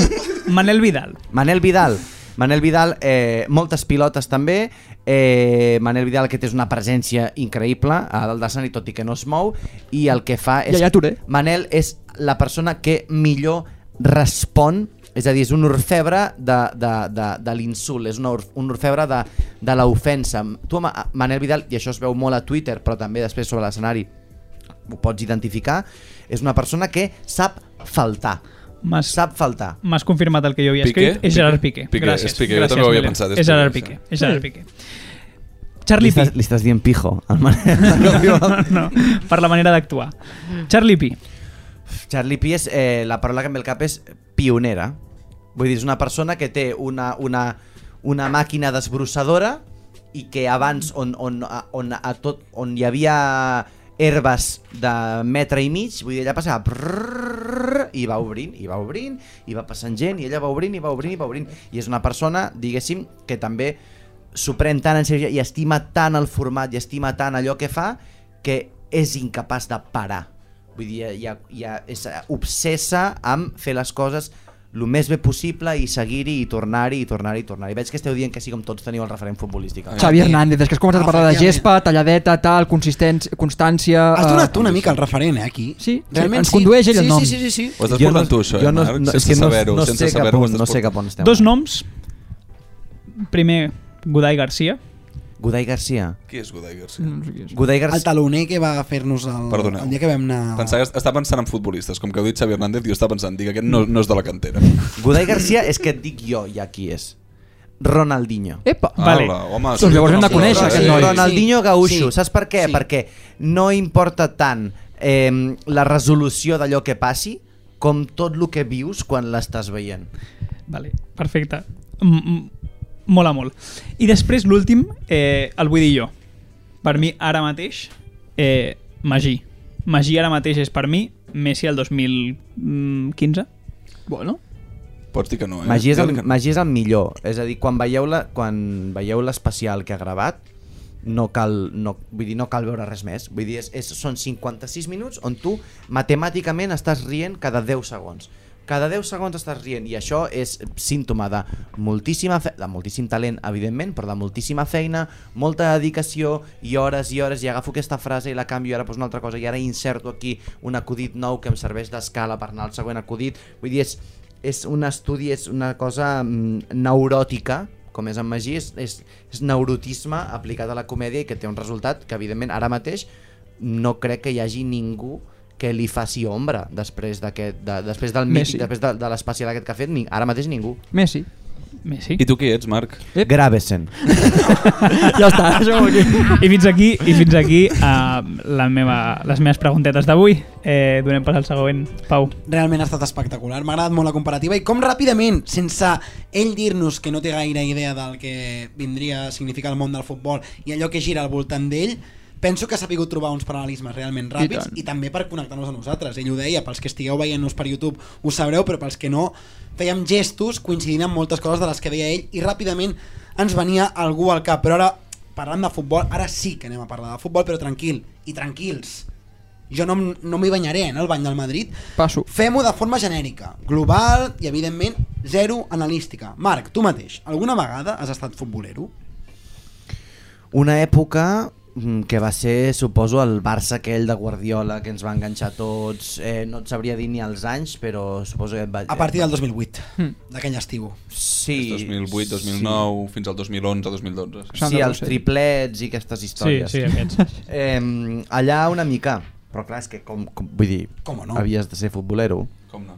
Speaker 4: Manel Vidal.
Speaker 5: Manel Vidal. Manel Vidal, eh, moltes pilotes també. Eh, Manel Vidal, que té una presència increïble a dalt de l'escenari, tot i que no es mou. I el que fa és...
Speaker 1: Yaya Touré.
Speaker 5: Manel és la persona que millor respon és a dir, és un orfebre de, de, de, de l'insult, és una or, un orfebre de, de l'ofensa. Tu, Ma- Manel Vidal, i això es veu molt a Twitter, però també després sobre l'escenari ho pots identificar, és una persona que sap faltar.
Speaker 4: M'has
Speaker 5: Sap faltar.
Speaker 4: m'has confirmat el que jo havia
Speaker 3: Piqué?
Speaker 4: escrit. És Gerard
Speaker 3: Piqué.
Speaker 4: Piqué.
Speaker 3: Piqué,
Speaker 4: Gràcies.
Speaker 3: és Piqué, jo
Speaker 4: Gràcies,
Speaker 3: també ho havia
Speaker 4: Manel.
Speaker 3: pensat, és
Speaker 4: És Gerard
Speaker 3: Piqué,
Speaker 4: Piqué. És Gerard Piqué. Charlie P.
Speaker 5: li estàs dient pijo al Manel.
Speaker 4: No, per la manera d'actuar. Charlie P.
Speaker 5: Charlie P és, eh, la paraula que em ve al cap és pionera. Vull dir, és una persona que té una, una, una màquina desbrossadora i que abans on, on, a- on, a tot, on hi havia herbes de metre i mig, vull dir, ella passava prrrr, i va obrint, i va obrint, i va passant gent, i ella va obrint, i va obrint, i va obrint. I és una persona, diguéssim, que també s'ho pren tant en sèrio i estima tant el format i estima tant allò que fa que és incapaç de parar. Vull dir, ja, ja és eh, obsessa amb fer les coses el més bé possible i seguir-hi i tornar-hi i tornar-hi i tornar-hi. Veig que esteu dient que sí, com tots teniu el referent futbolístic.
Speaker 1: Xavi Hernández, és que has començat a parlar de
Speaker 2: Efectivament.
Speaker 1: gespa, talladeta, tal, consistència, constància...
Speaker 2: Has
Speaker 1: eh,
Speaker 2: donat tu una mica el referent, eh, aquí.
Speaker 1: Sí, sí, ens condueix ell el
Speaker 2: sí,
Speaker 1: nom.
Speaker 2: Sí, sí, sí, sí.
Speaker 3: Ho estàs portant tu, això, eh, Marc? sense saber-ho, sense saber-ho. ho
Speaker 5: No,
Speaker 3: estàs
Speaker 5: no sé
Speaker 3: portant.
Speaker 5: cap on estem.
Speaker 4: Dos noms. Primer, Godai Garcia.
Speaker 5: Godai Garcia.
Speaker 3: Qui és Godai Garcia?
Speaker 5: Godai
Speaker 2: El
Speaker 5: Garcia.
Speaker 2: taloner que va fer-nos el,
Speaker 3: Perdoneu.
Speaker 2: el dia que vam anar...
Speaker 3: Pensava que està pensant en futbolistes. Com que heu dit Xavi Hernández, jo estava pensant, dic, aquest no, no és de la cantera.
Speaker 5: Godai Garcia és que et dic jo ja qui és. Ronaldinho.
Speaker 1: Epa!
Speaker 4: Vale.
Speaker 3: Ala, home,
Speaker 1: Doncs llavors hem de Eh, conèixer
Speaker 3: sí.
Speaker 1: aquest noi.
Speaker 5: Ronaldinho
Speaker 2: Sí,
Speaker 5: Gaúcho,
Speaker 2: sí.
Speaker 5: saps per què?
Speaker 2: Sí.
Speaker 5: Perquè no importa tant eh, la resolució d'allò que passi com tot el que vius quan l'estàs veient.
Speaker 4: Vale, perfecte. Mm, mm, mola molt. I després l'últim, eh, el vull dir jo. Per mi, ara mateix, eh, Magí. Magí ara mateix és per mi Messi el 2015.
Speaker 1: Bueno,
Speaker 3: Pots dir que no, eh?
Speaker 5: Magí és, el,
Speaker 3: Digue'l que no.
Speaker 5: Magí és el millor, és a dir, quan veieu la- quan veieu l'especial que ha gravat, no cal, no, vull dir, no cal veure res més. Vull dir, és, és, són 56 minuts on tu matemàticament estàs rient cada 10 segons. Cada 10 segons estàs rient i això és símptoma de moltíssima fe de moltíssim talent, evidentment, però de moltíssima feina, molta dedicació i hores i hores i agafo aquesta frase i la canvio i ara poso una altra cosa i ara inserto aquí un acudit nou que em serveix d'escala per anar al següent acudit. Vull dir, és, és un estudi, és una cosa mm, neuròtica, com és en Magí, és, és, és neurotisme aplicat a la comèdia i que té un resultat que, evidentment, ara mateix no crec que hi hagi ningú que li faci ombra després d'aquest, de, després del mític,
Speaker 1: Messi.
Speaker 5: després de, de l'especial aquest que ha fet, ni, ara mateix ningú.
Speaker 1: Messi.
Speaker 4: Messi.
Speaker 3: I tu qui ets, Marc?
Speaker 1: Ep.
Speaker 5: Gravesen.
Speaker 1: Ja està, això aquí.
Speaker 4: I fins aquí, i fins aquí uh, la meva, les meves preguntetes d'avui. Eh, donem pas al següent. Pau.
Speaker 2: Realment ha estat espectacular, m'ha agradat molt la comparativa i com ràpidament, sense ell dir-nos que no té gaire idea del que vindria a significar el món del futbol i allò que gira al voltant d'ell, penso que ha sabut trobar uns paral·lelismes realment ràpids
Speaker 1: tant.
Speaker 2: i, també per connectar-nos a nosaltres. Ell ho deia, pels que estigueu veient-nos per YouTube ho sabreu, però pels que no, fèiem gestos coincidint amb moltes coses de les que deia ell i ràpidament ens venia algú al cap. Però ara, parlant de futbol, ara sí que anem a parlar de futbol, però tranquil, i tranquils. Jo no, em- no m'hi banyaré, eh, en el bany del Madrid,
Speaker 1: Passo.
Speaker 2: Fem-ho de forma genèrica, global i, evidentment, zero analística. Marc, tu mateix, alguna vegada has estat futbolero?
Speaker 5: Una època mm, que va ser, suposo, el Barça aquell de Guardiola que ens va enganxar tots, eh, no et sabria dir ni els anys, però suposo que... Va,
Speaker 2: A partir del 2008, d'aquell estiu.
Speaker 5: Sí.
Speaker 3: 2008,
Speaker 5: sí.
Speaker 3: 2009, fins al 2011, 2012. sí.
Speaker 5: Sí,
Speaker 1: Sandra
Speaker 5: els
Speaker 1: Rosell.
Speaker 5: triplets i aquestes històries.
Speaker 4: aquests.
Speaker 5: Eh, allà una mica, però clar, és que com, com vull dir,
Speaker 2: Com o no?
Speaker 5: havies de ser futbolero.
Speaker 3: Com no?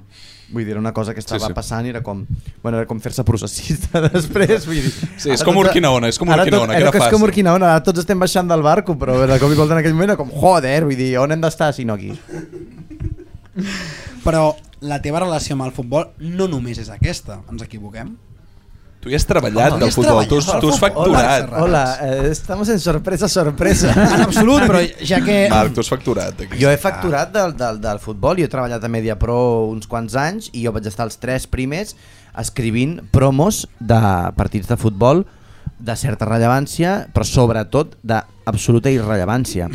Speaker 5: Vull dir, era una cosa que estava
Speaker 3: sí.
Speaker 5: sí, sí. passant i era com, bueno, era com fer-se processista després, vull dir.
Speaker 3: Sí, és
Speaker 5: ara
Speaker 3: com
Speaker 5: tots-
Speaker 3: Urquinaona, és com
Speaker 5: ara tot-
Speaker 3: Urquinaona, que
Speaker 5: era
Speaker 3: era
Speaker 5: És com
Speaker 3: fàcil.
Speaker 5: Urquinaona, ara tots estem baixant del barco, però de cop i volta en aquell moment era com, joder, vull dir, on hem d'estar si no aquí?
Speaker 2: Però la teva relació amb el futbol no només és aquesta, ens equivoquem?
Speaker 3: Tu hi has treballat
Speaker 2: Home, hi
Speaker 3: del
Speaker 2: has
Speaker 3: futbol,
Speaker 2: treballat
Speaker 3: tu, has-
Speaker 2: del
Speaker 3: tu has
Speaker 2: futbol,
Speaker 3: facturat.
Speaker 2: Serrat.
Speaker 5: Hola, eh, estamos en sorpresa, sorpresa.
Speaker 2: En absolut, però ja que...
Speaker 3: Marc, tu has
Speaker 2: Tota
Speaker 3: facturat. Aquí.
Speaker 5: Jo he facturat del, del, del futbol, jo he treballat a Mediapro uns quants anys i jo vaig estar els tres primers escrivint promos de partits de futbol de certa rellevància, però sobretot d'absoluta irrellevància.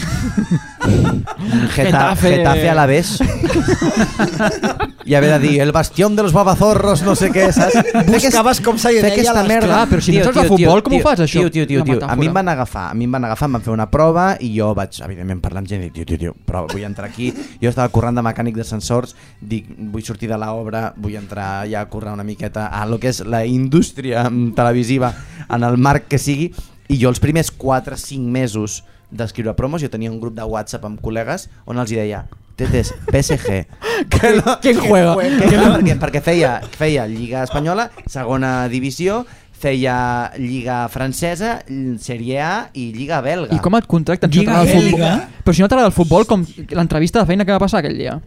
Speaker 5: Geta,
Speaker 1: Getafe.
Speaker 5: Getafe a la vez. I haver de dir, el bastión de los babazorros, no sé què, saps?
Speaker 2: Buscaves com se li
Speaker 5: Fer
Speaker 2: deia a
Speaker 5: aquesta
Speaker 2: les-
Speaker 5: merda.
Speaker 1: Clar, però si no saps de futbol, com ho fas, això?
Speaker 5: Tio, tio, tio,
Speaker 1: Una
Speaker 5: tio. A
Speaker 1: metàfora.
Speaker 5: mi em van agafar, a mi em van agafar, em van fer una prova i jo vaig, evidentment, parlar amb gent i dic, tio, tio, tio, però vull entrar aquí. Jo estava currant de mecànic d'ascensors, dic, vull sortir de l'obra, vull entrar ja a currar una miqueta a lo que és la indústria mm, televisiva en el marc que sigui. I jo els primers 4-5 mesos d'escriure promos, jo tenia un grup de WhatsApp amb col·legues on els hi deia Tetes, PSG.
Speaker 2: Que no-
Speaker 5: ¿Quién
Speaker 2: juega?
Speaker 5: Que no, perquè, perquè feia, feia Lliga Espanyola, segona divisió, feia Lliga Francesa, Sèrie A i Lliga Belga.
Speaker 1: I com et contracten si no
Speaker 4: Lliga,
Speaker 1: t'agrada el futbol?
Speaker 4: Lliga.
Speaker 1: Però si no t'agrada el futbol, com l'entrevista de feina que va passar aquell dia.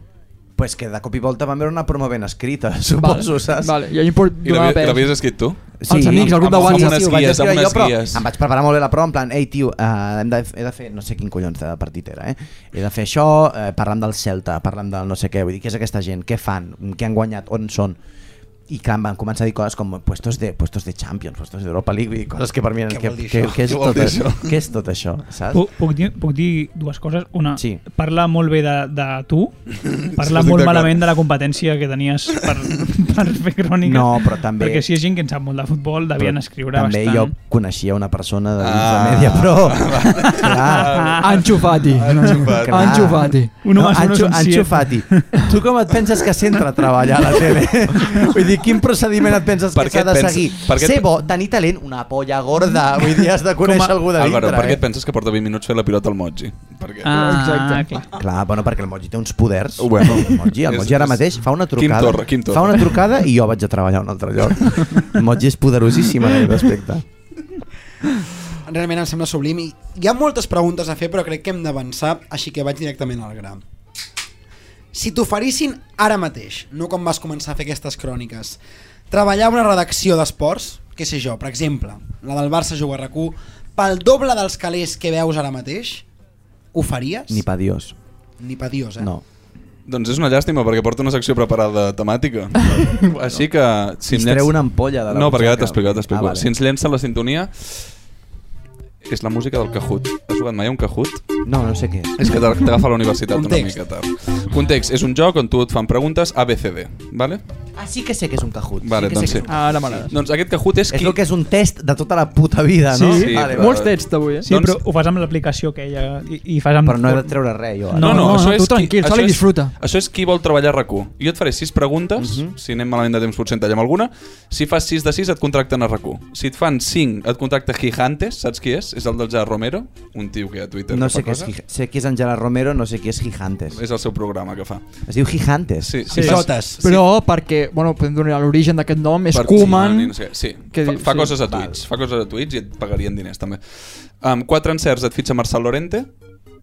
Speaker 5: Pues que de cop i volta van veure una promo ben escrita, suposo, saps?
Speaker 1: Vale, i allò import-
Speaker 3: I l'havies-
Speaker 1: donava pes.
Speaker 3: l'havies escrit tu?
Speaker 1: Els amics, el grup de
Speaker 5: amb- amb
Speaker 1: WhatsApp.
Speaker 5: unes
Speaker 3: Sí, ho vaig
Speaker 5: guies,
Speaker 3: escriure
Speaker 5: amb
Speaker 3: jo,
Speaker 5: unes
Speaker 3: però
Speaker 5: guies. Em vaig preparar molt bé la prova, en plan, ei, tio, eh, hem de, he de fer, no sé quin collons de partit era, eh? He de fer això, eh, parlant del Celta, parlant del no sé què, vull dir, què és aquesta gent, què fan, què han guanyat, on són? I clar, em van començar a dir coses com puestos de, puestos de Champions, puestos d'Europa League, vull dir, coses que per mi eren...
Speaker 2: Què
Speaker 5: Què,
Speaker 2: vol dir
Speaker 5: què,
Speaker 2: això?
Speaker 5: què, és
Speaker 3: Què vol
Speaker 5: tot,
Speaker 3: dir
Speaker 5: això?
Speaker 3: això?
Speaker 5: què és tot això,
Speaker 1: Oh,
Speaker 5: saps?
Speaker 4: Puc, puc, dir, puc dir dues coses. Una,
Speaker 5: Sí.
Speaker 4: parla molt bé de, de tu, parla
Speaker 3: Estic
Speaker 4: molt
Speaker 3: d'acord.
Speaker 4: malament de la competència que tenies per, per fer crònica.
Speaker 5: No, però també-
Speaker 4: Perquè si és gent que en sap molt de futbol, devien
Speaker 5: Però
Speaker 4: escriure
Speaker 5: També
Speaker 4: bastant.
Speaker 5: jo coneixia una persona de dins
Speaker 3: Ah.
Speaker 5: de Mediapro. clar,
Speaker 2: Ah.
Speaker 1: Anxo Fati.
Speaker 3: Anxo Fati.
Speaker 1: Anxo Fati.
Speaker 4: Un home és un
Speaker 5: Anxo,
Speaker 4: un
Speaker 5: Anxo
Speaker 4: siete.
Speaker 5: Fati, tu com et penses que s'entra a treballar a la tele? Vull dir, quin procediment et penses
Speaker 3: Per
Speaker 5: que
Speaker 3: què
Speaker 5: s'ha de
Speaker 3: et penses-
Speaker 5: seguir?
Speaker 3: per què et-
Speaker 5: Ser bo, tenir talent, una polla gorda. Vull dir, has de conèixer
Speaker 4: Com a-
Speaker 5: algú de dintre.
Speaker 3: Álvaro, per què
Speaker 5: eh?
Speaker 3: et penses que porta 20 minuts fent la pilota al Moji? Perquè...
Speaker 4: Ah, Exacte. clar.
Speaker 5: Clar, bueno, perquè el Moji té uns poders.
Speaker 3: Bueno.
Speaker 5: el Moji, el
Speaker 3: És-
Speaker 5: Moji ara
Speaker 3: és-
Speaker 5: mateix fa una
Speaker 3: Quim
Speaker 5: trucada.
Speaker 3: Torra, Quim Torra.
Speaker 5: Fa una trucada i jo vaig a treballar a un altre lloc. El Moji és poderosíssim en aquest aspecte.
Speaker 2: Realment em sembla sublim i hi ha moltes preguntes a fer però crec que hem d'avançar, així que vaig directament al gra. Si t'oferissin ara mateix, no quan vas començar a fer aquestes cròniques, treballar a una redacció d'esports, què sé jo, per exemple, la del Barça jugar a RAC1, pel doble dels calés que veus ara mateix, ho faries?
Speaker 5: Ni pa Dios.
Speaker 2: Ni pa Dios, eh?
Speaker 5: No.
Speaker 3: Doncs és una llàstima, perquè porta una secció preparada temàtica. Així que... Si
Speaker 5: Si
Speaker 3: em
Speaker 5: es
Speaker 3: llenç-
Speaker 5: treu una ampolla de la
Speaker 3: No, perquè ara
Speaker 5: butxaca.
Speaker 3: t'explico, ara t'explico.
Speaker 5: Ah, vale.
Speaker 3: Si ens llença la sintonia... És la música del Cajut. Has jugat mai a un Cajut?
Speaker 5: No, no sé què és.
Speaker 3: És que t'ha- t'agafa la universitat una
Speaker 2: Context.
Speaker 3: mica tard. Context. És un joc on tu et fan preguntes ABCD, vale?
Speaker 5: Ah, sí que sé que és un cajut.
Speaker 3: Vale,
Speaker 5: sí que
Speaker 3: doncs
Speaker 5: sé
Speaker 3: sí.
Speaker 5: que és un
Speaker 1: Ara m'agrada.
Speaker 3: Doncs aquest Cajut és
Speaker 5: És
Speaker 3: qui...
Speaker 5: el que és un test de tota la puta vida, no?
Speaker 4: Sí.
Speaker 3: Sí,
Speaker 5: vale,
Speaker 3: però-
Speaker 5: vale.
Speaker 1: Molts tests avui, eh?
Speaker 4: Sí,
Speaker 3: Doncs-
Speaker 4: però ho fas amb l'aplicació aquella i, i fas amb...
Speaker 5: Però no he de treure res, jo. ara.
Speaker 3: No, no,
Speaker 1: No, no,
Speaker 3: això
Speaker 1: tu
Speaker 3: és
Speaker 1: tranquil,
Speaker 3: qui,
Speaker 1: sol i
Speaker 3: això és-
Speaker 1: disfruta.
Speaker 3: Això és qui vol treballar a RAC1. Jo et faré sis preguntes,
Speaker 5: Mhm.
Speaker 3: si anem malament de temps potser en tallem alguna. Si fas 6 de 6 et contracten a RAC1. Si et fan 5 et contracta Gigantes, saps qui és? És el del Gerard Romero, un tio que a Twitter
Speaker 5: No
Speaker 3: fa
Speaker 5: sé què és,
Speaker 3: coses.
Speaker 5: Gij- sé qui és Angela Romero, no sé qui és Gigantes.
Speaker 3: És el seu programa que fa.
Speaker 5: Es diu Gigantes.
Speaker 3: Sí,
Speaker 2: Sí.
Speaker 3: si fas-
Speaker 2: Jotes.
Speaker 1: Però perquè, bueno, podem donar l'origen d'aquest nom, és
Speaker 3: per
Speaker 1: Koeman.
Speaker 3: Koeman i no sé què. Sí,
Speaker 1: que
Speaker 3: fa,
Speaker 1: diu-
Speaker 3: fa
Speaker 1: sí.
Speaker 3: coses a Twitch. Fa coses a Twitch i et pagarien diners, també. Amb 4 encerts et fitxa Marcel Lorente,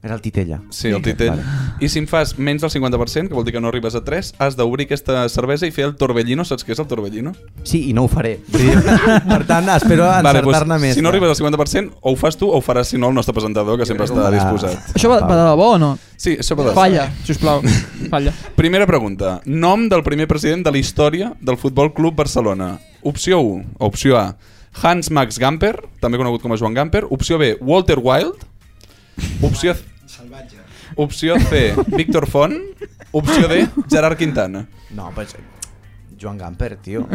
Speaker 5: Era el Titella.
Speaker 3: Sí, el titell.
Speaker 5: Vale.
Speaker 3: I si en fas menys del 50%, que vol dir que no arribes a 3, has d'obrir aquesta cervesa i fer el torbellino. Saps què és el torbellino?
Speaker 5: Sí, i no ho faré. Vull dir, per tant, espero encertar-ne més.
Speaker 3: doncs,
Speaker 5: eh.
Speaker 3: Si no arribes al 50%, o ho fas tu o ho faràs si no el nostre presentador, que sempre està
Speaker 5: Ah.
Speaker 3: disposat.
Speaker 1: Això va, va de debò o no?
Speaker 3: Sí, això pot
Speaker 1: Falla, sisplau. Falla.
Speaker 3: Primera pregunta. Nom del primer president de la història del Futbol Club Barcelona. Opció 1, o opció A, Hans Max Gamper, també conegut com a Joan Gamper. Opció B, Walter Wild. Opció...
Speaker 2: Salvatge.
Speaker 3: Opció C, Víctor Font. Opció D, Gerard Quintana.
Speaker 5: No, pues, Joan Gamper, tio.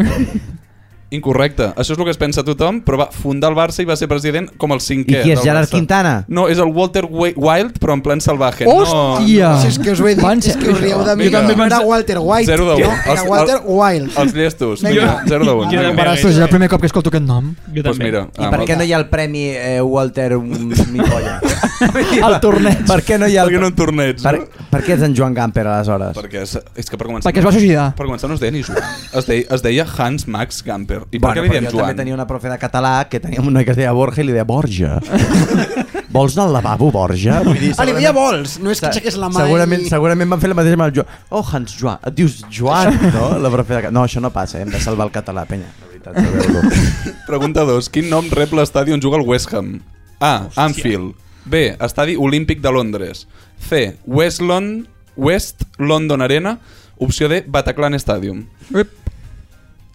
Speaker 3: Incorrecte. Això és el que es pensa tothom, però va fundar el Barça i va ser president com el
Speaker 5: I
Speaker 3: cinquè.
Speaker 5: qui és
Speaker 3: del
Speaker 5: Gerard
Speaker 3: Barça.
Speaker 5: Quintana?
Speaker 3: No, és el Walter Wa- Wild, però en plan salvaje.
Speaker 1: Hòstia!
Speaker 2: Si és que us ho he dit,
Speaker 1: Van ser-
Speaker 2: és que us rieu de mi.
Speaker 3: Jo també
Speaker 2: No era
Speaker 3: pensa-
Speaker 2: Walter White.
Speaker 3: Zero de
Speaker 2: no?
Speaker 3: un. Els-
Speaker 2: Era Walter
Speaker 3: el-
Speaker 2: Wild.
Speaker 3: No, els llestos. Vinga, 0 de 1.
Speaker 4: Jo
Speaker 3: Vinga.
Speaker 4: també.
Speaker 1: Però Ah, és el primer cop que escolto aquest nom.
Speaker 4: Jo
Speaker 3: Doncs
Speaker 4: també.
Speaker 3: mira,
Speaker 5: I
Speaker 3: amb
Speaker 5: per
Speaker 3: el-
Speaker 5: què no hi ha el premi eh, Walter mm, Mi Polla?
Speaker 1: El torneig.
Speaker 5: Per què no hi ha
Speaker 3: Per què
Speaker 5: el...
Speaker 3: no en torneig,
Speaker 5: Per,
Speaker 3: no?
Speaker 5: per què és en Joan Gamper, aleshores?
Speaker 3: Perquè és, és que per començar...
Speaker 1: Perquè es va suïcidar.
Speaker 3: Per començar no es deia ni Joan. Es deia, es deia Hans Max Gamper. I per què li
Speaker 5: però
Speaker 3: diem
Speaker 5: jo
Speaker 3: Joan?
Speaker 5: també tenia una profe de català que tenia un noi que es deia Borja i li deia Borja. Vols anar al lavabo, Borja? Vull dir,
Speaker 2: Ah, li deia
Speaker 5: segurament-
Speaker 2: vols, no és que aixequés la mà
Speaker 5: Segurament,
Speaker 2: i...
Speaker 5: segurament van fer la mateixa amb el Joan. Oh, Hans Joan. Et dius Joan, no? La profe de... ca- No, això no passa, eh? hem de salvar el català, penya. La veritat, sabeu-lo.
Speaker 3: Pregunta 2. Quin nom rep l'estadi on juga el West Ham? A. Anfield. B. Estadi Olímpic de Londres. C. West, Lon West London Arena. Opció D. Bataclan Stadium.
Speaker 1: Ep.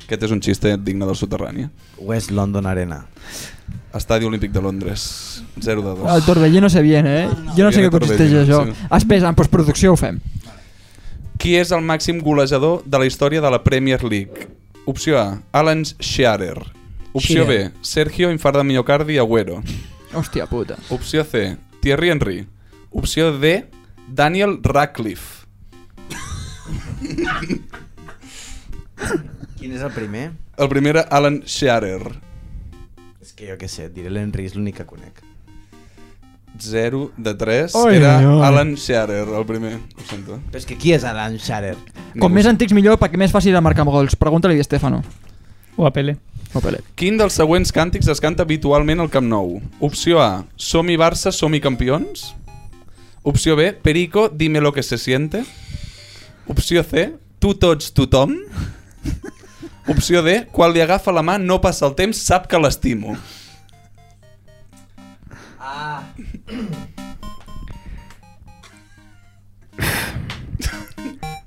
Speaker 3: Aquest és un xiste digne del soterrani. eh?
Speaker 5: West London Arena.
Speaker 3: Estadi Olímpic de Londres. 0 de 2.
Speaker 1: El torbellino se viene, eh? Jo no sé
Speaker 3: Viene
Speaker 1: què consisteix
Speaker 3: torbellino,
Speaker 1: això.
Speaker 3: sí.
Speaker 1: Espera, en postproducció ho fem.
Speaker 3: Qui és el màxim golejador de la història de la Premier League? Opció A. Alan Shearer. Opció
Speaker 2: Shearer.
Speaker 3: B. Sergio Infarda Miocardi Agüero.
Speaker 1: Hòstia puta.
Speaker 3: Opció C, Thierry Henry. Opció D, Daniel Radcliffe.
Speaker 5: Quin és el primer?
Speaker 3: El primer era Alan Shearer.
Speaker 5: És que jo què sé, diré l'Enri, és l'únic que conec.
Speaker 3: 0 de 3
Speaker 1: Oi,
Speaker 3: era
Speaker 1: oi.
Speaker 3: Alan Shearer, el primer. Ho sento.
Speaker 5: Però és que qui és Alan Sharer?
Speaker 1: Com
Speaker 3: Ningú
Speaker 1: més
Speaker 3: sap.
Speaker 1: antics millor perquè més fàcil de marcar gols. Pregunta-li a Estefano.
Speaker 4: O a Pele.
Speaker 1: No, Pele.
Speaker 3: Quin dels següents càntics es canta habitualment al Camp Nou? Opció A, som i Barça, som i campions. Opció B, Perico, dime lo que se siente. Opció C, tu tots, tothom. Opció D, quan li agafa la mà no passa el temps, sap que l'estimo.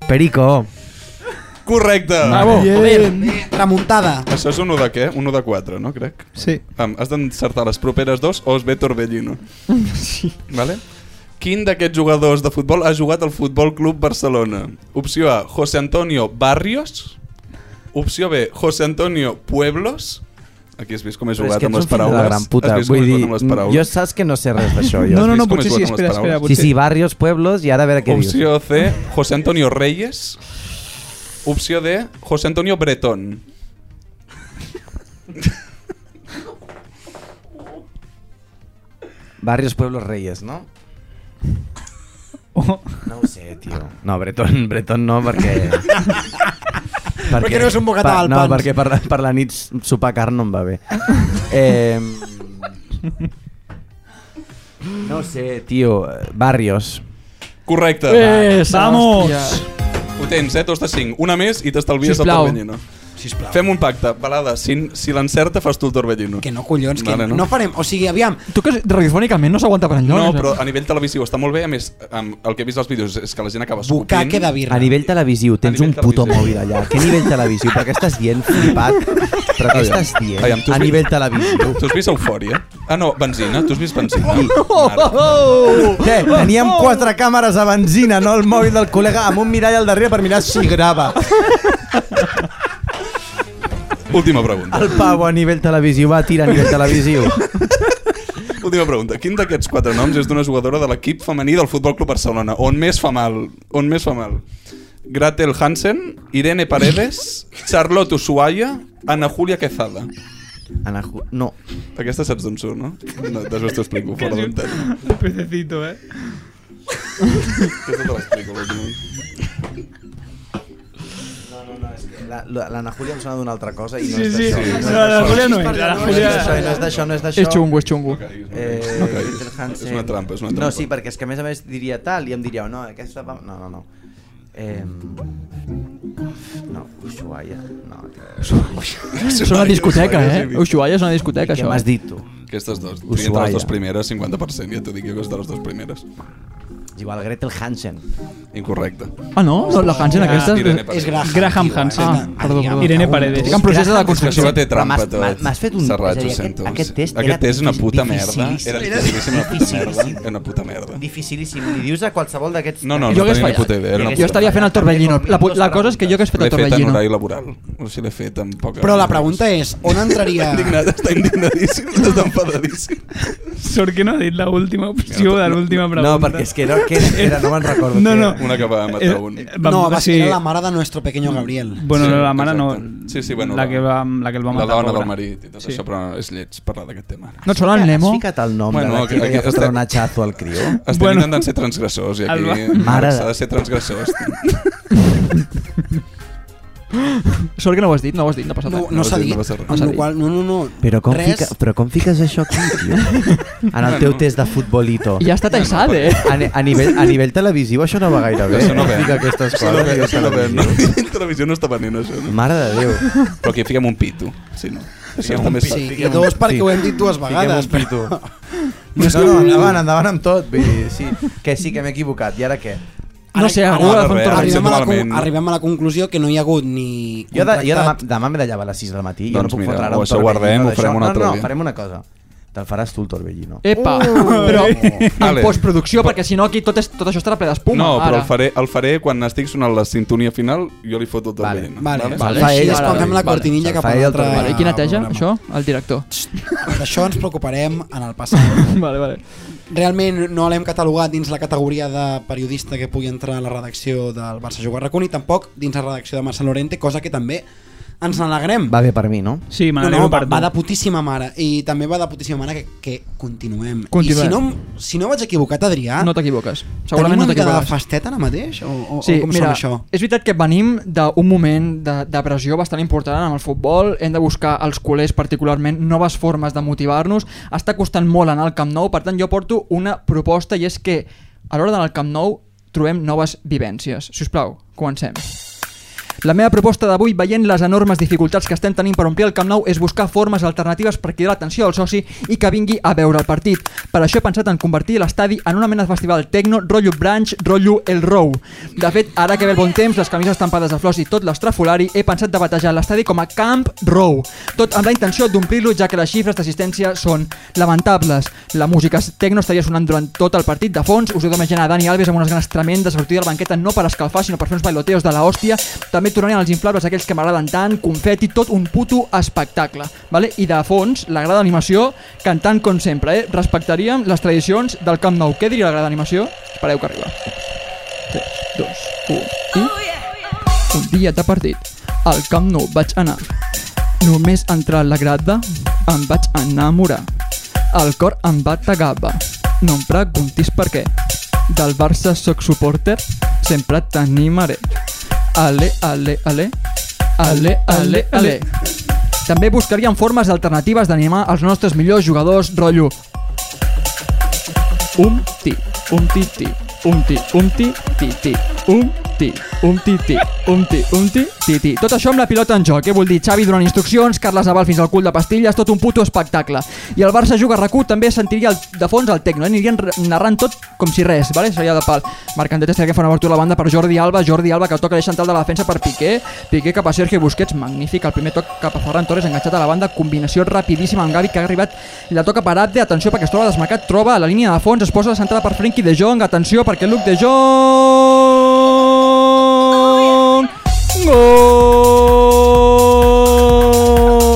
Speaker 5: Perico.
Speaker 3: Correcte!
Speaker 1: Bravo. Joder.
Speaker 2: Remuntada.
Speaker 3: Això és un 1 de què? Un 1 de 4, no crec?
Speaker 4: Sí.
Speaker 3: Am, has d'encertar les properes dos o es ve Torbellino. Sí. Vale? Quin d'aquests jugadors de futbol ha jugat al Futbol Club Barcelona? Opció A, José Antonio Barrios. Opció B, José Antonio Pueblos. Aquí has vist com he
Speaker 5: Però és
Speaker 3: jugat
Speaker 5: que
Speaker 3: amb
Speaker 5: ets
Speaker 3: les
Speaker 5: un fill de la
Speaker 3: paraules.
Speaker 5: gran puta.
Speaker 3: Has vist com
Speaker 5: Vull
Speaker 3: he
Speaker 5: dir,
Speaker 3: jugat amb les paraules.
Speaker 5: jo saps que no sé res d'això. Jo.
Speaker 4: No, no,
Speaker 3: vist
Speaker 4: no,
Speaker 3: com es
Speaker 4: potser sí,
Speaker 3: juguen amb les
Speaker 4: espera, espera.
Speaker 3: paraules?
Speaker 5: Sí,
Speaker 4: Potser.
Speaker 5: sí, barrios, pueblos, i ara a veure què dius.
Speaker 3: Opció C, José Antonio Reyes. Opció D, José Antonio Bretón.
Speaker 5: Barrios, pueblos, reyes, no?
Speaker 4: O,
Speaker 5: No ho sé, tio. No, Breton, Breton no, perquè...
Speaker 2: Perquè no és un bocata al
Speaker 5: No,
Speaker 2: pans.
Speaker 5: perquè per, la- per la nit sopar carn no em va bé. Eh, no ho sé, tio. Barrios.
Speaker 3: Correcte.
Speaker 1: Eh,
Speaker 4: Vamos!
Speaker 3: Ho tens, eh? Dos de cinc. Una més i t'estalvies el
Speaker 1: Sisplau.
Speaker 3: Torbellino.
Speaker 2: Sisplau.
Speaker 3: Fem un pacte, balada, si, si l'encerta fas tu el Torbellino.
Speaker 2: Que no, collons, que
Speaker 3: Vale, no.
Speaker 2: no. no farem... O sigui, aviam,
Speaker 1: Tu que radiofònicament no s'aguanta per enlloc. eh?
Speaker 3: No, però a nivell televisiu està molt bé, a més, amb el que he vist als vídeos és que la gent acaba escopint.
Speaker 2: bucaque de birra.
Speaker 5: A nivell televisiu, tens
Speaker 3: nivell
Speaker 5: un puto
Speaker 3: televisiu.
Speaker 5: mòbil allà. Què nivell televisiu? Per què estàs dient flipat? Però què estàs dient?
Speaker 3: Aviam, tu has
Speaker 5: a
Speaker 3: vist-
Speaker 5: nivell televisiu.
Speaker 3: Tu has vist Eufòria? Ah, no, Benzina, tu has vist Benzina? Mare.
Speaker 1: Oh!
Speaker 5: Té, teníem quatre càmeres a benzina, no el mòbil del col·lega, amb un mirall al darrere per mirar si grava.
Speaker 3: Última pregunta.
Speaker 5: El Pau a nivell televisiu va tirar a nivell televisiu.
Speaker 3: Última pregunta. Quin d'aquests quatre noms és d'una jugadora de l'equip femení del Futbol Club Barcelona? On més fa mal? On més fa mal? Gratel Hansen, Irene Paredes, Charlotte Ushuaia, Ana Julia Quezada.
Speaker 5: Ana, Ju- no.
Speaker 3: Aquesta saps d'on surt, no? no Després t'ho explico, fora d'antena.
Speaker 4: Un pececito, eh?
Speaker 3: Aquesta te l'explico. l'última.
Speaker 5: La- la- L'Anna Júlia em sona d'una altra cosa i no
Speaker 4: Sí,
Speaker 5: és
Speaker 4: sí.
Speaker 5: d'això. No és
Speaker 4: No, la Julia no és. La
Speaker 5: No és
Speaker 4: Julia...
Speaker 5: d'això, no és d'això, no és d'això.
Speaker 1: És xungo, és xungo.
Speaker 5: Eh,
Speaker 3: No caiguis.
Speaker 5: Peter Hansen.
Speaker 3: És una trampa, és una
Speaker 5: No,
Speaker 3: trampa.
Speaker 5: sí, perquè és que a més a més diria tal i em diríeu, no, aquesta... va- No, no, no. Eh, no, Ushuaia. No,
Speaker 1: És una discoteca, eh? Ushuaia és una discoteca,
Speaker 5: què
Speaker 1: això.
Speaker 5: m'has dit tu?
Speaker 3: Aquestes dos.
Speaker 5: Ushuaia.
Speaker 3: Tria entre les dues primeres, 50%, ja t'ho dic jo que és de les dues primeres.
Speaker 5: És igual, Gretel Hansen.
Speaker 3: Incorrecte.
Speaker 1: Ah, no? No, La Hansen aquesta...
Speaker 3: Irene
Speaker 1: és-
Speaker 3: Paredes.
Speaker 2: És Graham.
Speaker 4: Graham
Speaker 2: tio,
Speaker 4: Hansen.
Speaker 1: Ah, perdó, perdó.
Speaker 4: Irene Paredes.
Speaker 1: Estic en procés de construcció.
Speaker 3: Això té trampa,
Speaker 5: Però
Speaker 3: tot.
Speaker 5: m'has- m'has fet un-
Speaker 3: Serrat,
Speaker 5: és a
Speaker 3: ho
Speaker 5: dir, aquest-
Speaker 3: sento.
Speaker 5: aquest test era
Speaker 3: Aquest test és una puta merda.
Speaker 5: dificilíssim.
Speaker 3: Era diguéssim una puta merda.
Speaker 5: Dificilíssim.
Speaker 3: Era una puta merda.
Speaker 5: Dificilíssim. Li dius a qualsevol d'aquests...
Speaker 3: No, no,
Speaker 1: Jo
Speaker 3: no
Speaker 1: hagués
Speaker 3: tenia ni
Speaker 1: fallat.
Speaker 3: puta idea. era una
Speaker 1: Jo
Speaker 3: puta
Speaker 1: estaria fent el Torbellino. La, pu- la cosa és que jo hagués fet
Speaker 3: merda.
Speaker 1: el
Speaker 3: L'he fet en
Speaker 1: Torbellino.
Speaker 3: horari laboral. O sigui, l'he fet en poca...
Speaker 2: Però la pregunta és, on entraria...
Speaker 3: Indignat, està indignadíssim, està enfadadíssim.
Speaker 4: Sort que no ha dit l'última opció de l'última pregunta.
Speaker 5: No, perquè és que no, què era? No me'n recordo.
Speaker 4: No,
Speaker 5: què
Speaker 4: no.
Speaker 5: era.
Speaker 3: Una que va
Speaker 4: Eh,
Speaker 3: matar un.
Speaker 2: No, va ser la mare de nuestro pequeño Gabriel.
Speaker 4: Bueno,
Speaker 3: Sí,
Speaker 4: la mare no...
Speaker 3: exacte. Sí, sí, bueno,
Speaker 4: la,
Speaker 3: la-
Speaker 4: que va, la que el
Speaker 3: La
Speaker 4: va matar.
Speaker 3: dona
Speaker 4: pobra.
Speaker 3: del marit i tot
Speaker 4: Sí.
Speaker 3: això, però és lleig parlar d'aquest tema.
Speaker 1: No et sona el Nemo?
Speaker 5: Has ficat el nom
Speaker 3: Bueno,
Speaker 5: de la tia
Speaker 3: aquí-
Speaker 5: que
Speaker 3: aquí
Speaker 5: fotrà
Speaker 3: està-
Speaker 5: un atxazo al crió?
Speaker 3: Estem
Speaker 4: Bueno.
Speaker 3: intentant ser transgressors i aquí
Speaker 4: Alba.
Speaker 5: Mare
Speaker 3: Mare...
Speaker 5: de-
Speaker 3: s'ha de ser transgressors.
Speaker 1: Sort que no ho has dit, no ho has dit, no passa
Speaker 2: No,
Speaker 1: res.
Speaker 2: no s'ha
Speaker 3: no
Speaker 2: dit,
Speaker 3: passa res.
Speaker 2: amb la qual no, no, no.
Speaker 5: Però com,
Speaker 2: Res,
Speaker 5: fica, però com fiques això aquí, tio? En el teu test de futbolito.
Speaker 1: I ja està taixat, eh?
Speaker 5: A, ni- a, nivell, a nivell televisiu això no va gaire bé. Eh,
Speaker 3: Això no ve.
Speaker 5: Fica aquestes
Speaker 3: Això no
Speaker 5: coses.
Speaker 3: ve,
Speaker 5: a
Speaker 3: això no ve.
Speaker 5: nivell
Speaker 3: No,
Speaker 5: televisiu.
Speaker 3: en televisió no està venint això, no?
Speaker 5: Mare de Déu.
Speaker 3: Però aquí fiquem un pito, si no. Això està més
Speaker 2: Sí,
Speaker 3: fàcil.
Speaker 2: i dos perquè
Speaker 5: Sí.
Speaker 2: ho hem dit dues vegades.
Speaker 5: Fiquem un pito.
Speaker 2: No és
Speaker 5: No,
Speaker 2: que-
Speaker 5: no, endavant, endavant amb tot. Vull dir, sí, que sí, que m'he equivocat. I ara què?
Speaker 1: No sé,
Speaker 3: Ah,
Speaker 1: algú
Speaker 3: no,
Speaker 1: ha de
Speaker 3: no,
Speaker 1: fer un
Speaker 3: res.
Speaker 1: Torbellino.
Speaker 2: Arribem a, la,
Speaker 3: malament.
Speaker 2: con- arribem a la conclusió que no hi ha hagut ni
Speaker 5: Jo, de, jo demà,
Speaker 2: contractat.
Speaker 5: demà m'he de llevar a les 6 del matí. jo
Speaker 3: Doncs
Speaker 5: no puc
Speaker 3: mira,
Speaker 5: fotre ara
Speaker 3: o
Speaker 5: un
Speaker 3: això ho
Speaker 5: torbellino
Speaker 3: guardem, ho
Speaker 5: d'això.
Speaker 3: farem un altre
Speaker 5: no, no,
Speaker 3: dia.
Speaker 5: No, farem una cosa. Te'l faràs tu, el torbellino.
Speaker 1: Epa, però en
Speaker 3: Ale.
Speaker 1: postproducció, perquè si no aquí tot, és, tot això estarà ple d'espuma.
Speaker 3: No, però
Speaker 1: ara.
Speaker 3: el faré, el faré quan estic sonant la sintonia final, jo li foto tot
Speaker 5: Vale,
Speaker 3: el vent.
Speaker 2: Vale,
Speaker 1: Vale.
Speaker 2: vale. Així
Speaker 1: Fa
Speaker 2: és
Speaker 1: ell,
Speaker 2: quan
Speaker 1: vale,
Speaker 2: fem la
Speaker 5: vale.
Speaker 2: cortinilla cap
Speaker 5: Fa
Speaker 2: a
Speaker 5: ell el
Speaker 2: l'altre
Speaker 5: treball.
Speaker 1: Vale, i qui neteja,
Speaker 2: programa.
Speaker 1: això? El director.
Speaker 2: D'això ens preocuparem en el passat.
Speaker 1: vale, vale.
Speaker 2: Realment no l'hem catalogat dins la categoria de periodista que pugui entrar a la redacció del Barça Jugar Racun i tampoc dins la redacció de Marcel Lorente, cosa que també ens n'alegrem.
Speaker 5: Va bé per mi, no?
Speaker 2: No,
Speaker 4: Sí,
Speaker 2: no,
Speaker 4: me n'alegro
Speaker 2: va,
Speaker 4: per tu.
Speaker 2: va de putíssima mare. I també va de putíssima mare que, que continuem.
Speaker 1: Continuem.
Speaker 2: I si no, em- si no vaig equivocat, Adrià,
Speaker 1: No t'equivoques. Segurament
Speaker 2: Ah. tenim
Speaker 1: no
Speaker 2: una mica de
Speaker 1: t'equivoques.
Speaker 2: festeta ara mateix? O, o,
Speaker 1: Sí,
Speaker 2: o com
Speaker 1: mira,
Speaker 2: sona això?
Speaker 1: és veritat que venim d'un moment de, de pressió bastant important en el futbol, hem de buscar als culers particularment noves formes de motivar-nos, està costant molt anar al Camp Nou, per tant jo porto una proposta i és que a l'hora d'anar al Camp Nou trobem noves vivències. Si us plau, comencem. La meva proposta d'avui, veient les enormes dificultats que estem tenint per omplir el Camp Nou, és buscar formes alternatives per cridar l'atenció del soci i que vingui a veure el partit. Per això he pensat en convertir l'estadi en una mena de festival tecno, rotllo branch, rotllo el row. De fet, ara que ve el bon temps, les camises estampades de flors i tot l'estrafolari, he pensat de batejar l'estadi com a Camp Row, tot amb la intenció d'omplir-lo ja que les xifres d'assistència són lamentables. La música tecno estaria sonant durant tot el partit de fons, us heu d'imaginar Dani Alves amb unes ganes tremendes sortir de la banqueta no per escalfar sinó per fer uns bailoteos de la hòstia, també tornarien els inflables aquells que m'agraden tant, confeti, tot un puto espectacle. Vale? I de fons, la grada d'animació cantant com sempre, eh? respectaríem les tradicions del Camp Nou. Què diria la grada d'animació? Espereu que arriba. 3, 2, 1 i... Un dia de partit, al Camp Nou vaig anar. Només entrar a la grada em vaig enamorar. El cor em va tagava, no em preguntis per què. Del Barça sóc supporter, sempre t'animaré. Ale, ale, ale, ale, ale, ale. També buscarien formes alternatives d'animar els nostres millors jugadors, rotllo Umti, umti, Um, ti, umti, umti, ti, ti, umti, umti, ti, umti, umti, ti, ti. Tot això amb la pilota en joc, eh? Vull dir, Xavi donant instruccions, Carles Abal fins al cul de pastilles, tot un puto espectacle. I el Barça juga a rac també sentiria el, de fons el tecno, eh? anirien re- narrant tot com si res, vale? Seria de pal. Mercantet estaria que fa una obertura a la banda per Jordi Alba, Jordi Alba que toca l'eix central de la defensa per Piqué, Piqué cap a Sergio Busquets, magnífic, el primer toc cap a Ferran Torres enganxat a la banda, combinació rapidíssima amb Gavi que ha arribat i la toca per Abde, atenció perquè es troba desmarcat, troba a la línia de fons, es posa la centrada per Frenkie de Jong, atenció perquè Luc de Jong...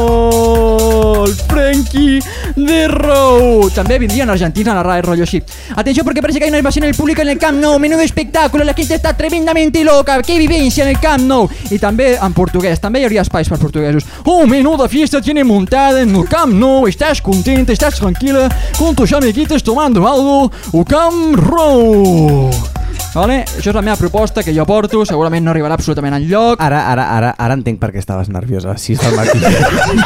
Speaker 1: Gol! Frenkie de Row. També vendrían Argentina a narrar el rollo ship. Atención porque parece que hay una invasión del público en el Camp Nou. Menudo espectáculo, la gente está tremendamente loca. ¡Qué vivencia en el Camp Nou! Y también en portugués, también habría spice para portuguesos. ¡Oh, menuda fiesta tiene montada en el Camp Nou! ¿Estás contenta? ¿Estás tranquila? Con tus amiguitos tomando algo. ¡O Camp Nou! Vale? Això és la meva proposta que jo porto, segurament no arribarà absolutament enlloc.
Speaker 5: Ara, ara, ara, ara entenc per què estaves nerviosa a les 6 del matí.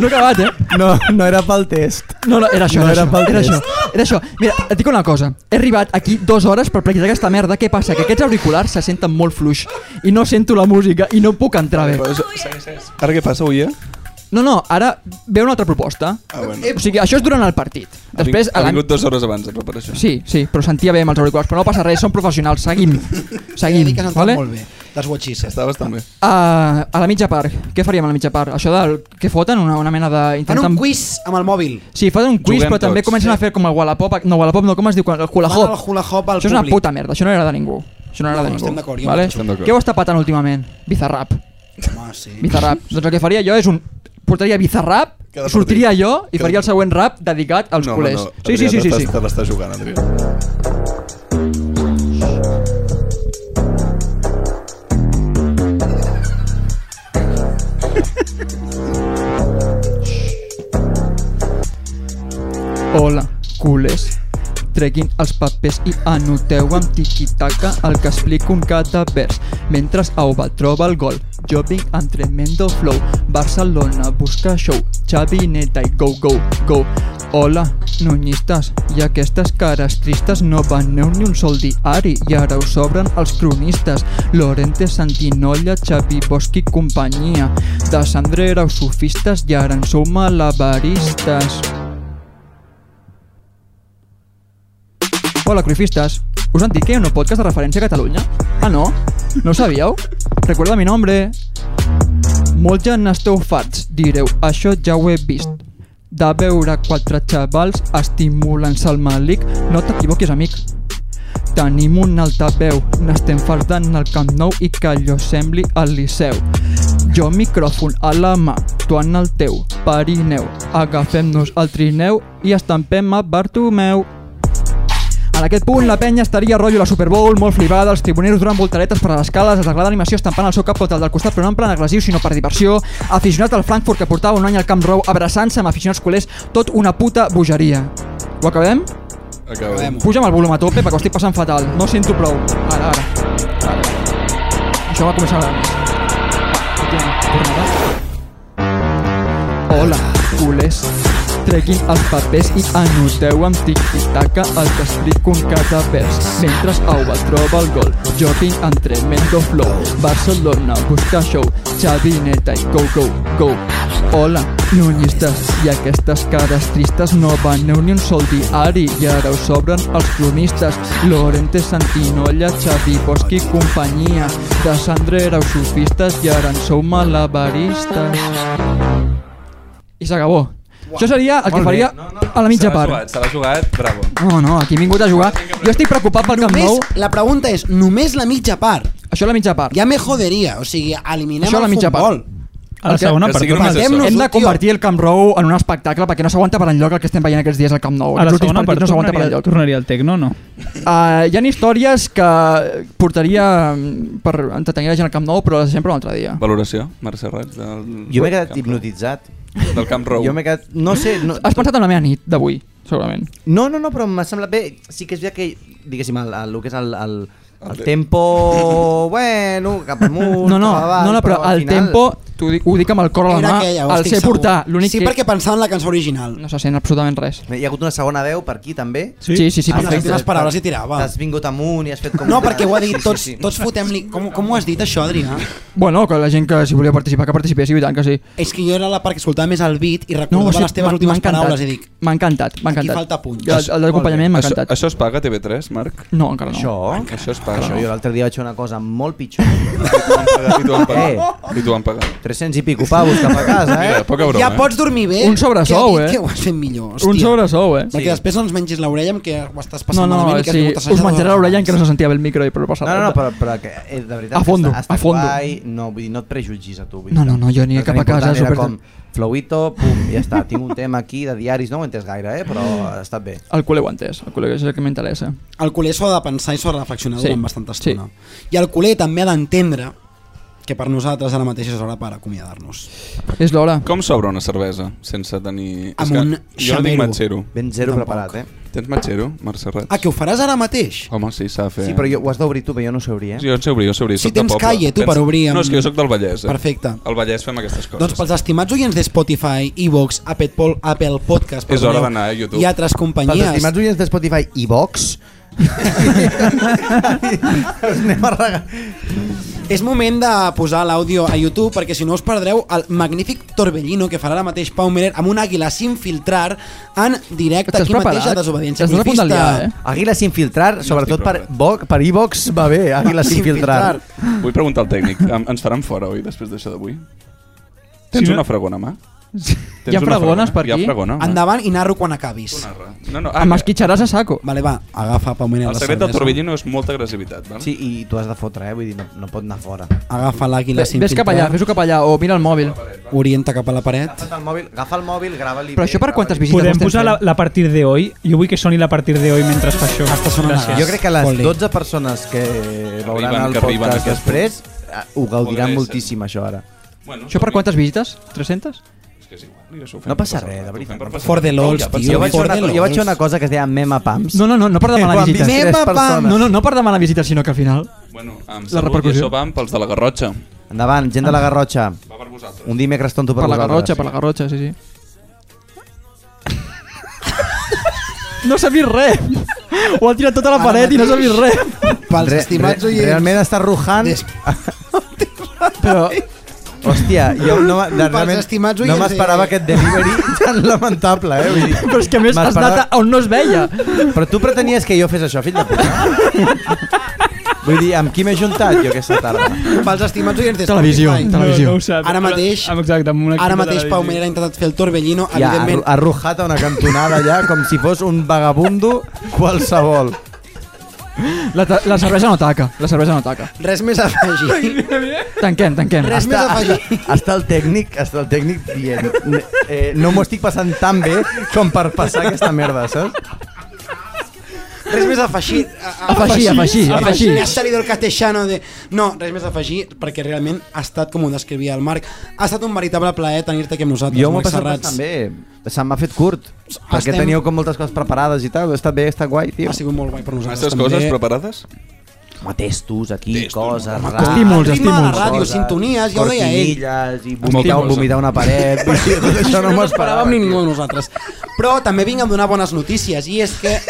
Speaker 1: No he acabat, eh?
Speaker 5: No, no era pel test.
Speaker 1: No, no, era això,
Speaker 5: No
Speaker 1: era,
Speaker 5: era
Speaker 1: això,
Speaker 5: pel
Speaker 1: era
Speaker 5: test.
Speaker 1: això. Era això. Mira, et dic una cosa. He arribat aquí dues hores per practicar aquesta merda. Què passa? Que aquests auriculars se senten molt fluix i no sento la música i no puc entrar bé.
Speaker 3: Ara què passa, Uia?
Speaker 1: No, no, ara ve una altra proposta.
Speaker 3: Ah, bueno.
Speaker 1: O sigui, això és durant el partit. Després,
Speaker 3: ha
Speaker 1: a la-
Speaker 3: vingut dues hores abans a preparació.
Speaker 1: Sí, sí, però sentia bé amb els auriculars. Però no passa res, són professionals. Seguim.
Speaker 2: He de
Speaker 1: Seguim,
Speaker 2: dir que has entrat
Speaker 1: vale?
Speaker 2: molt bé. That's what she said.
Speaker 3: Està bastant bé.
Speaker 1: A, a la mitja part. Què faríem a la mitja part? Això del... Què foten? Una, una mena de...
Speaker 2: Fan
Speaker 1: Intenten...
Speaker 2: un quiz amb el mòbil.
Speaker 1: Sí, fan un quiz,
Speaker 3: Juguem
Speaker 1: però també
Speaker 3: tots,
Speaker 1: comencen a fer com el Wallapop. No, Wallapop no, com es diu? El hula
Speaker 2: Fan
Speaker 1: hoop.
Speaker 2: el hula hoop al
Speaker 1: Això és una
Speaker 2: públic.
Speaker 1: puta merda, això no era de ningú. Això no era
Speaker 2: No,
Speaker 1: de ningú.
Speaker 2: estem d'acord, jo
Speaker 1: vale?
Speaker 2: mateix.
Speaker 3: Estem d'acord.
Speaker 1: Què ho està patant últimament? Bizarrap.
Speaker 2: Home, sí.
Speaker 1: Bizarrap. doncs el que faria jo és un... Portaria Bizarrap,
Speaker 3: Cada
Speaker 1: sortiria
Speaker 3: partit.
Speaker 1: jo i
Speaker 3: Cada
Speaker 1: faria el següent rap dedicat als
Speaker 3: No, home,
Speaker 1: culers.
Speaker 3: no.
Speaker 1: sí, sí,
Speaker 3: Adrià,
Speaker 1: sí, sí,
Speaker 3: t'estàs-
Speaker 1: sí.
Speaker 3: Te l'estàs jugant, Adrià.
Speaker 1: Hola, culers. Treguin els papers i anoteu amb tiquitaca el que explico un cada vers. Mentre Auba troba el gol, jo vinc amb tremendo flow. Barcelona busca show, Xavi Neta i go, go, go. Hola, nonyistes, i aquestes cares tristes no veneu ni un sol diari i ara us sobren els cronistes. Lorente Santinolla, Xavi Bosch i companyia. De Sandra éreu sofistes i ara en sou malabaristes. Hola, cruifistes. Us han dit que hi ha un podcast de referència a Catalunya? Ah, no? No ho sabíeu? Recorda mi nombre. Molt ja n'esteu farts, direu. Això ja ho he vist. De veure quatre xavals estimulant-se al malic, no t'equivoquis, amic. Tenim un altaveu, n'estem farts d'anar al Camp Nou i que allò sembli al Liceu. Jo micròfon a la mà, tu en el teu, Perineu. Agafem-nos el trineu i estampem a Bartomeu. A En aquest punt, la penya estaria rotllo la Super Bowl, molt flipada, els tribuneros durant voltaretes per a les cales, els agrada l'animació estampant el seu cap contra el del costat, però no en plan agressiu, sinó per diversió, aficionat al Frankfurt que portava un any al Camp Nou abraçant-se amb aficionats culers, tot una puta bogeria. Ho acabem?
Speaker 3: Acabem.
Speaker 1: Puja'm el volum a tope perquè ho estic passant fatal. No sento prou. Ara, ara. ara. Això va començar a agradar més. Tornarà? Hola, culers. Treguin els papers i anoteu amb tic-taca el que escric un cada vers. Mentre Auba troba el gol, jogging amb tremendo flow. Barcelona busca show, Xavi Neta i go, go, go. Hola, nunyistes i aquestes cares tristes no veneu ni un sol diari i ara us sobren els cronistes. Lorente Santinolla, Xavi Bosch i companyia. De Sandra éreu sofistes i ara en sou malabaristes. I s'acabó. Això seria el que faria a la mitja part.
Speaker 3: Se l'ha jugat, bravo.
Speaker 1: No, no, aquí he vingut a jugar. Jo estic preocupat pel Camp Nou.
Speaker 2: Només, la pregunta és, només la mitja part.
Speaker 1: Això a la mitja part.
Speaker 2: Ja me joderia, o sigui, eliminem
Speaker 1: Això a la
Speaker 2: el
Speaker 1: mitja
Speaker 2: futbol.
Speaker 1: part.
Speaker 4: A la
Speaker 1: El que-
Speaker 4: segona
Speaker 3: que
Speaker 4: part.
Speaker 3: sigui
Speaker 4: tot
Speaker 3: només
Speaker 4: el-
Speaker 3: és-
Speaker 2: Anem-nos,
Speaker 1: Hem de
Speaker 2: tio.
Speaker 1: convertir el Camp Nou en un espectacle perquè no s'aguanta per enlloc el que estem veient aquests dies al Camp Nou.
Speaker 4: A la
Speaker 1: Els últims
Speaker 4: segona part
Speaker 1: partits no s'aguanta per
Speaker 4: tornaria,
Speaker 1: enlloc.
Speaker 4: tornaria el Tecno, no?
Speaker 1: Uh, hi ha històries que portaria mm, per entretenir la gent al Camp Nou, però les sempre un altre dia.
Speaker 3: Valoració, Mercè Raig, del,
Speaker 5: Jo m'he quedat
Speaker 3: Camp
Speaker 5: hipnotitzat.
Speaker 3: Rou. del Camp Rou.
Speaker 5: Jo m'he quedat... No sé... No,
Speaker 1: Has pensat en la meva nit d'avui, segurament.
Speaker 5: no, no, no però m'ha semblat bé. Sí que és veritat que, diguéssim, el, el, el que és el, el, el tempo... Bueno, cap amunt...
Speaker 1: No, no,
Speaker 5: cap avall,
Speaker 1: no, no però
Speaker 5: al
Speaker 1: el
Speaker 5: final-
Speaker 1: tempo, t'ho dic, ho dic amb el cor a la mà, el sé portar. L'únic
Speaker 2: Sí,
Speaker 1: que
Speaker 2: perquè pensava en la cançó original.
Speaker 1: no se sent absolutament res.
Speaker 5: Hi ha hagut una segona veu per aquí, també?
Speaker 1: Sí, sí, sí,
Speaker 5: Ah,
Speaker 2: Amb les
Speaker 1: perfecte.
Speaker 2: últimes paraules i tirava.
Speaker 5: T'has vingut amunt i has fet com...
Speaker 2: No,
Speaker 5: una-
Speaker 2: perquè ho ha dit,
Speaker 5: Sí, sí,
Speaker 2: tots,
Speaker 5: sí.
Speaker 2: tots fotem-li... Com, com ho has dit, això, Adrià?
Speaker 1: Bueno, que la gent que si volia participar, que participés, i tant que sí.
Speaker 2: És que jo era la part que escoltava més el beat i
Speaker 1: ho
Speaker 2: recordava
Speaker 1: sé,
Speaker 2: les teves
Speaker 1: m'ha- m'ha
Speaker 2: últimes
Speaker 1: encantat.
Speaker 2: paraules i dic...
Speaker 1: M'ha encantat, m'ha
Speaker 2: Aquí
Speaker 1: encantat.
Speaker 2: falta punts.
Speaker 1: El, el d'acompanyament m'ha
Speaker 3: això,
Speaker 1: encantat.
Speaker 3: això es paga a TV3, Marc?
Speaker 1: No, encara no.
Speaker 5: Això?
Speaker 3: Això es paga.
Speaker 5: Això jo l'altre dia vaig fer una cosa molt pitjor.
Speaker 3: I t'ho van pagar. I t'ho van pagar.
Speaker 5: 300 i pico pavos cap a casa, eh?
Speaker 3: Mira, poca broma,
Speaker 2: ja
Speaker 3: eh?
Speaker 2: pots dormir bé.
Speaker 1: Un sobresou,
Speaker 2: que
Speaker 1: eh?
Speaker 2: ha dit Que ho has fet millor, hòstia.
Speaker 1: Un sobresou, eh?
Speaker 2: Perquè després no ens mengis l'orella amb què ho estàs
Speaker 1: No,
Speaker 2: passant
Speaker 1: no,
Speaker 2: malament i que has
Speaker 1: sí,
Speaker 2: vingut a assajar
Speaker 1: us menjaré
Speaker 2: dos
Speaker 1: l'orella en
Speaker 2: abans.
Speaker 1: què no se sentia bé el micro i però no passa
Speaker 5: No, no,
Speaker 1: res.
Speaker 5: no, però, però que, eh, de veritat,
Speaker 1: A fondo,
Speaker 5: que està,
Speaker 1: a
Speaker 5: està
Speaker 1: fondo.
Speaker 5: guai, no, vull dir, no et prejutgis a tu. Vull dir,
Speaker 1: No, no, no, jo aniré
Speaker 5: no
Speaker 1: cap a
Speaker 5: tan
Speaker 1: casa,
Speaker 5: important, Era
Speaker 1: super-
Speaker 5: com flowito, pum, ja està, tinc un tema aquí de diaris, no ho he entès gaire, eh, però ha estat bé.
Speaker 1: El culer ho ha entès, el culer és el que m'interessa.
Speaker 2: El culer s'ho ha de pensar i s'ho ha de reflexionar
Speaker 1: Sí,
Speaker 2: durant bastanta estona. I el culer també ha d'entendre que per nosaltres ara mateix és hora per acomiadar-nos.
Speaker 1: És l'hora.
Speaker 3: Com s'obre una cervesa sense tenir... És
Speaker 2: Amb
Speaker 3: que
Speaker 2: un
Speaker 3: Jo no
Speaker 2: xamero.
Speaker 3: tinc matxero.
Speaker 5: Ben zero
Speaker 2: Tampoc.
Speaker 5: preparat, eh?
Speaker 3: Tens matxero, Mercè Raig?
Speaker 2: Ah, que ho faràs ara mateix?
Speaker 3: Home, sí, s'ha de fer. eh?
Speaker 5: Sí, però jo, ho has d'obrir tu, però jo no sé obrir, eh?
Speaker 3: Jo en sé obrir, jo sé obrir.
Speaker 2: Si
Speaker 3: soc de
Speaker 2: tens
Speaker 3: poble.
Speaker 2: calle, tu,
Speaker 3: Tens-
Speaker 2: per obrir amb-
Speaker 3: No, és que jo soc del Vallès. Eh?
Speaker 2: Perfecte.
Speaker 3: Al Vallès fem aquestes coses.
Speaker 2: Doncs pels estimats oients de Spotify, Evox, Apple, Pol, Apple Podcast
Speaker 3: És hora
Speaker 2: perdoneu,
Speaker 3: d'anar a YouTube.
Speaker 2: i altres
Speaker 5: Pels
Speaker 2: companyies
Speaker 5: estimats oients de Spotify i Vox, us anem a regalar.
Speaker 2: és moment de posar l'àudio a YouTube perquè si no us perdreu el magnífic Torbellino que farà ara mateix Pau Miller amb un àguila sin filtrar en directe
Speaker 1: Estàs
Speaker 2: aquí mateix a
Speaker 1: preparat?
Speaker 2: Desobediència
Speaker 1: Estàs a punt de
Speaker 2: Cultista.
Speaker 1: liar, eh?
Speaker 5: Àguila sin filtrar, sobretot per, Vox, per iVox va bé, Àguila sin filtrar.
Speaker 3: Vull preguntar al tècnic. Em- Ens faran fora, oi, després d'això d'avui? Tens
Speaker 4: Sí, no?
Speaker 3: una fregona, mà?
Speaker 1: Hi ha fregones per
Speaker 3: Hi
Speaker 1: aquí?
Speaker 3: ha fregona, mà?
Speaker 2: Endavant i narro quan acabis.
Speaker 3: No, no,
Speaker 1: Amb
Speaker 3: ah, que-
Speaker 1: esquitxaràs a saco.
Speaker 2: Vale, va, agafa Pau Miller
Speaker 3: el
Speaker 2: la
Speaker 3: secret del
Speaker 2: cervesa.
Speaker 3: Torbellino és molta agressivitat, val?
Speaker 5: Sí, i tu has de fotre, eh? Vull dir, no, no pot anar fora.
Speaker 2: Agafa l'àguila sin
Speaker 1: Ves cap allà, fes-ho cap allà, o mira el mòbil.
Speaker 2: Orienta cap a la paret.
Speaker 5: Agafa el mòbil, agafa el mòbil, grava-li.
Speaker 1: Però això per quantes visites ho
Speaker 4: Podem
Speaker 1: estem
Speaker 4: posar la, la partir de hoy? Jo vull que soni la partir de hoy mentre es fa això.
Speaker 2: Està sonant
Speaker 4: Gràcies.
Speaker 2: ara.
Speaker 5: Jo crec que les
Speaker 2: Ponle.
Speaker 5: 12 persones que veuran
Speaker 3: Arriben,
Speaker 5: el
Speaker 3: que arriben
Speaker 5: podcast
Speaker 3: aquestes
Speaker 5: després eh, ho gaudiran
Speaker 3: Podria ser.
Speaker 5: moltíssim, això, ara.
Speaker 3: Bueno,
Speaker 1: Això per quantes visites? 300?
Speaker 3: És que és igual, jo això ho fem per
Speaker 5: No passa
Speaker 3: passar-
Speaker 5: res, de
Speaker 3: ho fem
Speaker 5: veritat.
Speaker 3: per passar-
Speaker 2: For the lols,
Speaker 3: Ja,
Speaker 2: tio.
Speaker 5: Jo vaig, fer
Speaker 2: For
Speaker 5: una,
Speaker 2: the
Speaker 5: co- jo vaig fer
Speaker 2: lols.
Speaker 5: una cosa que es deia mema pams.
Speaker 1: No, no, no, no per demanar
Speaker 5: Quan
Speaker 1: visites.
Speaker 5: vist tres
Speaker 1: Mema, pam!
Speaker 5: persones.
Speaker 1: No, no, no per demanar visites, sinó que al final...
Speaker 3: Bueno, amb
Speaker 1: La
Speaker 3: la repercussió.
Speaker 1: repercussió.
Speaker 3: Això van pels de la Garrotxa.
Speaker 5: Endavant, gent de la Garrotxa.
Speaker 3: Va per vosaltres.
Speaker 5: Un dimecres tonto per,
Speaker 1: Per la
Speaker 5: vosaltres.
Speaker 1: Garrotxa, per la Garrotxa, sí, sí. No s'ha vist res! Ho ha tirat tota la paret i no s'ha vist res!
Speaker 2: Pels
Speaker 5: Re-
Speaker 2: estimats
Speaker 5: re-
Speaker 2: oients.
Speaker 5: Realment està rujant.
Speaker 2: Des-
Speaker 1: Però
Speaker 5: Hòstia, jo no, de- realment,
Speaker 2: estimats
Speaker 5: no
Speaker 2: oients,
Speaker 5: m'esperava
Speaker 2: eh.
Speaker 5: aquest delivery tan lamentable, eh? Vull dir,
Speaker 1: Però és que a més has
Speaker 5: m'esperava-
Speaker 1: anat a on no es veia.
Speaker 5: Però tu pretenies que jo fes això, fill de puta? Vull dir, amb qui m'he juntat jo aquesta tarda?
Speaker 2: Pels estimats oients de
Speaker 1: Televisió,
Speaker 2: Spotify.
Speaker 1: tele- televisió.
Speaker 4: ho sap.
Speaker 2: Ara mateix-
Speaker 4: Amb- Exacte, amb una
Speaker 2: Ara
Speaker 4: equip de
Speaker 2: mateix Pau Miller ha intentat fer el Torbellino,
Speaker 5: Ja,
Speaker 2: evidentment.
Speaker 5: ha arrujat a una cantonada ja com si fos un vagabundo qualsevol.
Speaker 1: La, ta- la cervesa no taca, la cervesa no taca.
Speaker 2: Res més a afegir.
Speaker 1: Tanquem, tanquem.
Speaker 2: Res més a afegir.
Speaker 5: Està el tècnic, està el tècnic dient "N- eh, no m'ho estic passant tan bé com per passar aquesta merda, saps?
Speaker 2: Res més a afegir. A, a,
Speaker 1: Afegir, afegir, afegir.
Speaker 2: Ja ha salido el castellano de... No, res més a afegir, perquè realment ha estat, com ho descrivia el Marc, ha estat un veritable plaer tenir-te aquí amb nosaltres,
Speaker 5: Jo m'ho he
Speaker 2: Marc
Speaker 5: passat
Speaker 2: Serrats.
Speaker 5: bastant bé. Se m'ha fet curt. Perquè
Speaker 2: Estem-
Speaker 5: teníeu com moltes coses preparades i tal. Ha estat bé, ha estat guai, tio.
Speaker 2: Ha sigut molt guai per nosaltres.
Speaker 3: Aquestes
Speaker 2: també.
Speaker 3: coses preparades?
Speaker 5: Home, testos aquí,
Speaker 3: Testos,
Speaker 5: coses...
Speaker 2: home,
Speaker 5: rares,
Speaker 1: estímuls,
Speaker 5: coses,
Speaker 1: estímuls.
Speaker 2: Ritme de ràdio, sintonies, ja ho deia ell.
Speaker 5: cortinilles I vomitar,
Speaker 3: Estímuls.
Speaker 5: vomitar una paret. vull dir, tot això no m'ho esperava.
Speaker 2: esperàvem
Speaker 5: tio.
Speaker 2: ningú de nosaltres. Però també vinc a donar bones notícies, i és que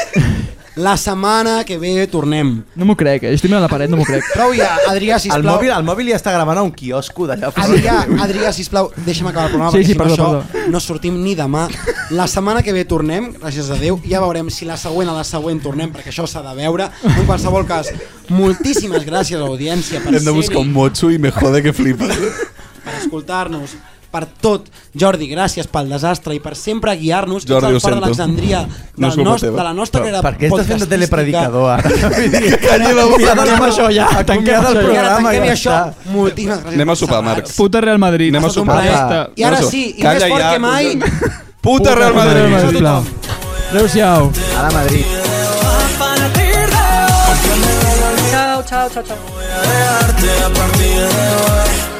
Speaker 2: la setmana que ve tornem.
Speaker 1: No m'ho crec, eh? estic mirant la paret, no m'ho crec.
Speaker 2: Prou ja, Adrià, sisplau.
Speaker 5: El mòbil, el mòbil ja està gravant a un quiosco d'allà.
Speaker 2: Adrià, Adrià, sisplau, deixa'm acabar el programa
Speaker 1: Sí,
Speaker 2: perquè
Speaker 1: sí,
Speaker 2: si no
Speaker 1: perdó,
Speaker 2: això no sortim ni demà. La setmana que ve tornem, gràcies a Déu, ja veurem si la següent a la següent tornem perquè això s'ha de veure. En qualsevol cas, moltíssimes gràcies a l'audiència per
Speaker 3: Hem de buscar
Speaker 2: ser-hi,
Speaker 3: un motxo i me jode que flipa.
Speaker 2: per escoltar-nos, per tot. Jordi, gràcies pel desastre i per sempre guiar-nos. Ets
Speaker 3: Jordi,
Speaker 2: el
Speaker 3: ho
Speaker 2: part
Speaker 3: sento.
Speaker 2: d'Alexandria,
Speaker 3: No
Speaker 2: de,
Speaker 3: és
Speaker 2: la
Speaker 3: culpa
Speaker 2: nos,
Speaker 3: teva.
Speaker 2: de la nostra carrera
Speaker 5: Per què estàs fent de
Speaker 2: podcastística.
Speaker 5: telepredicador ara?
Speaker 3: Calla la boca.
Speaker 5: Tanquem això ja. Tanquem el
Speaker 2: I ara
Speaker 5: programa
Speaker 2: tanquem
Speaker 5: ja
Speaker 2: i això.
Speaker 5: està.
Speaker 2: Moltíssimes gràcies.
Speaker 3: Anem a sopar, Marc.
Speaker 2: Serrats.
Speaker 4: Puta Real Madrid.
Speaker 3: Anem a
Speaker 4: Ha estat un
Speaker 3: sopar.
Speaker 4: plaer.
Speaker 2: Ah. I ara
Speaker 3: Anem a
Speaker 2: sí, i
Speaker 3: sopar.
Speaker 2: més
Speaker 3: Calla
Speaker 2: fort
Speaker 3: ja,
Speaker 2: que mai...
Speaker 3: Puta Real Madrid.
Speaker 1: Adéu, sisplau. Adéu-siau.
Speaker 5: A la Madrid.
Speaker 10: Chao, chao, chao, chao.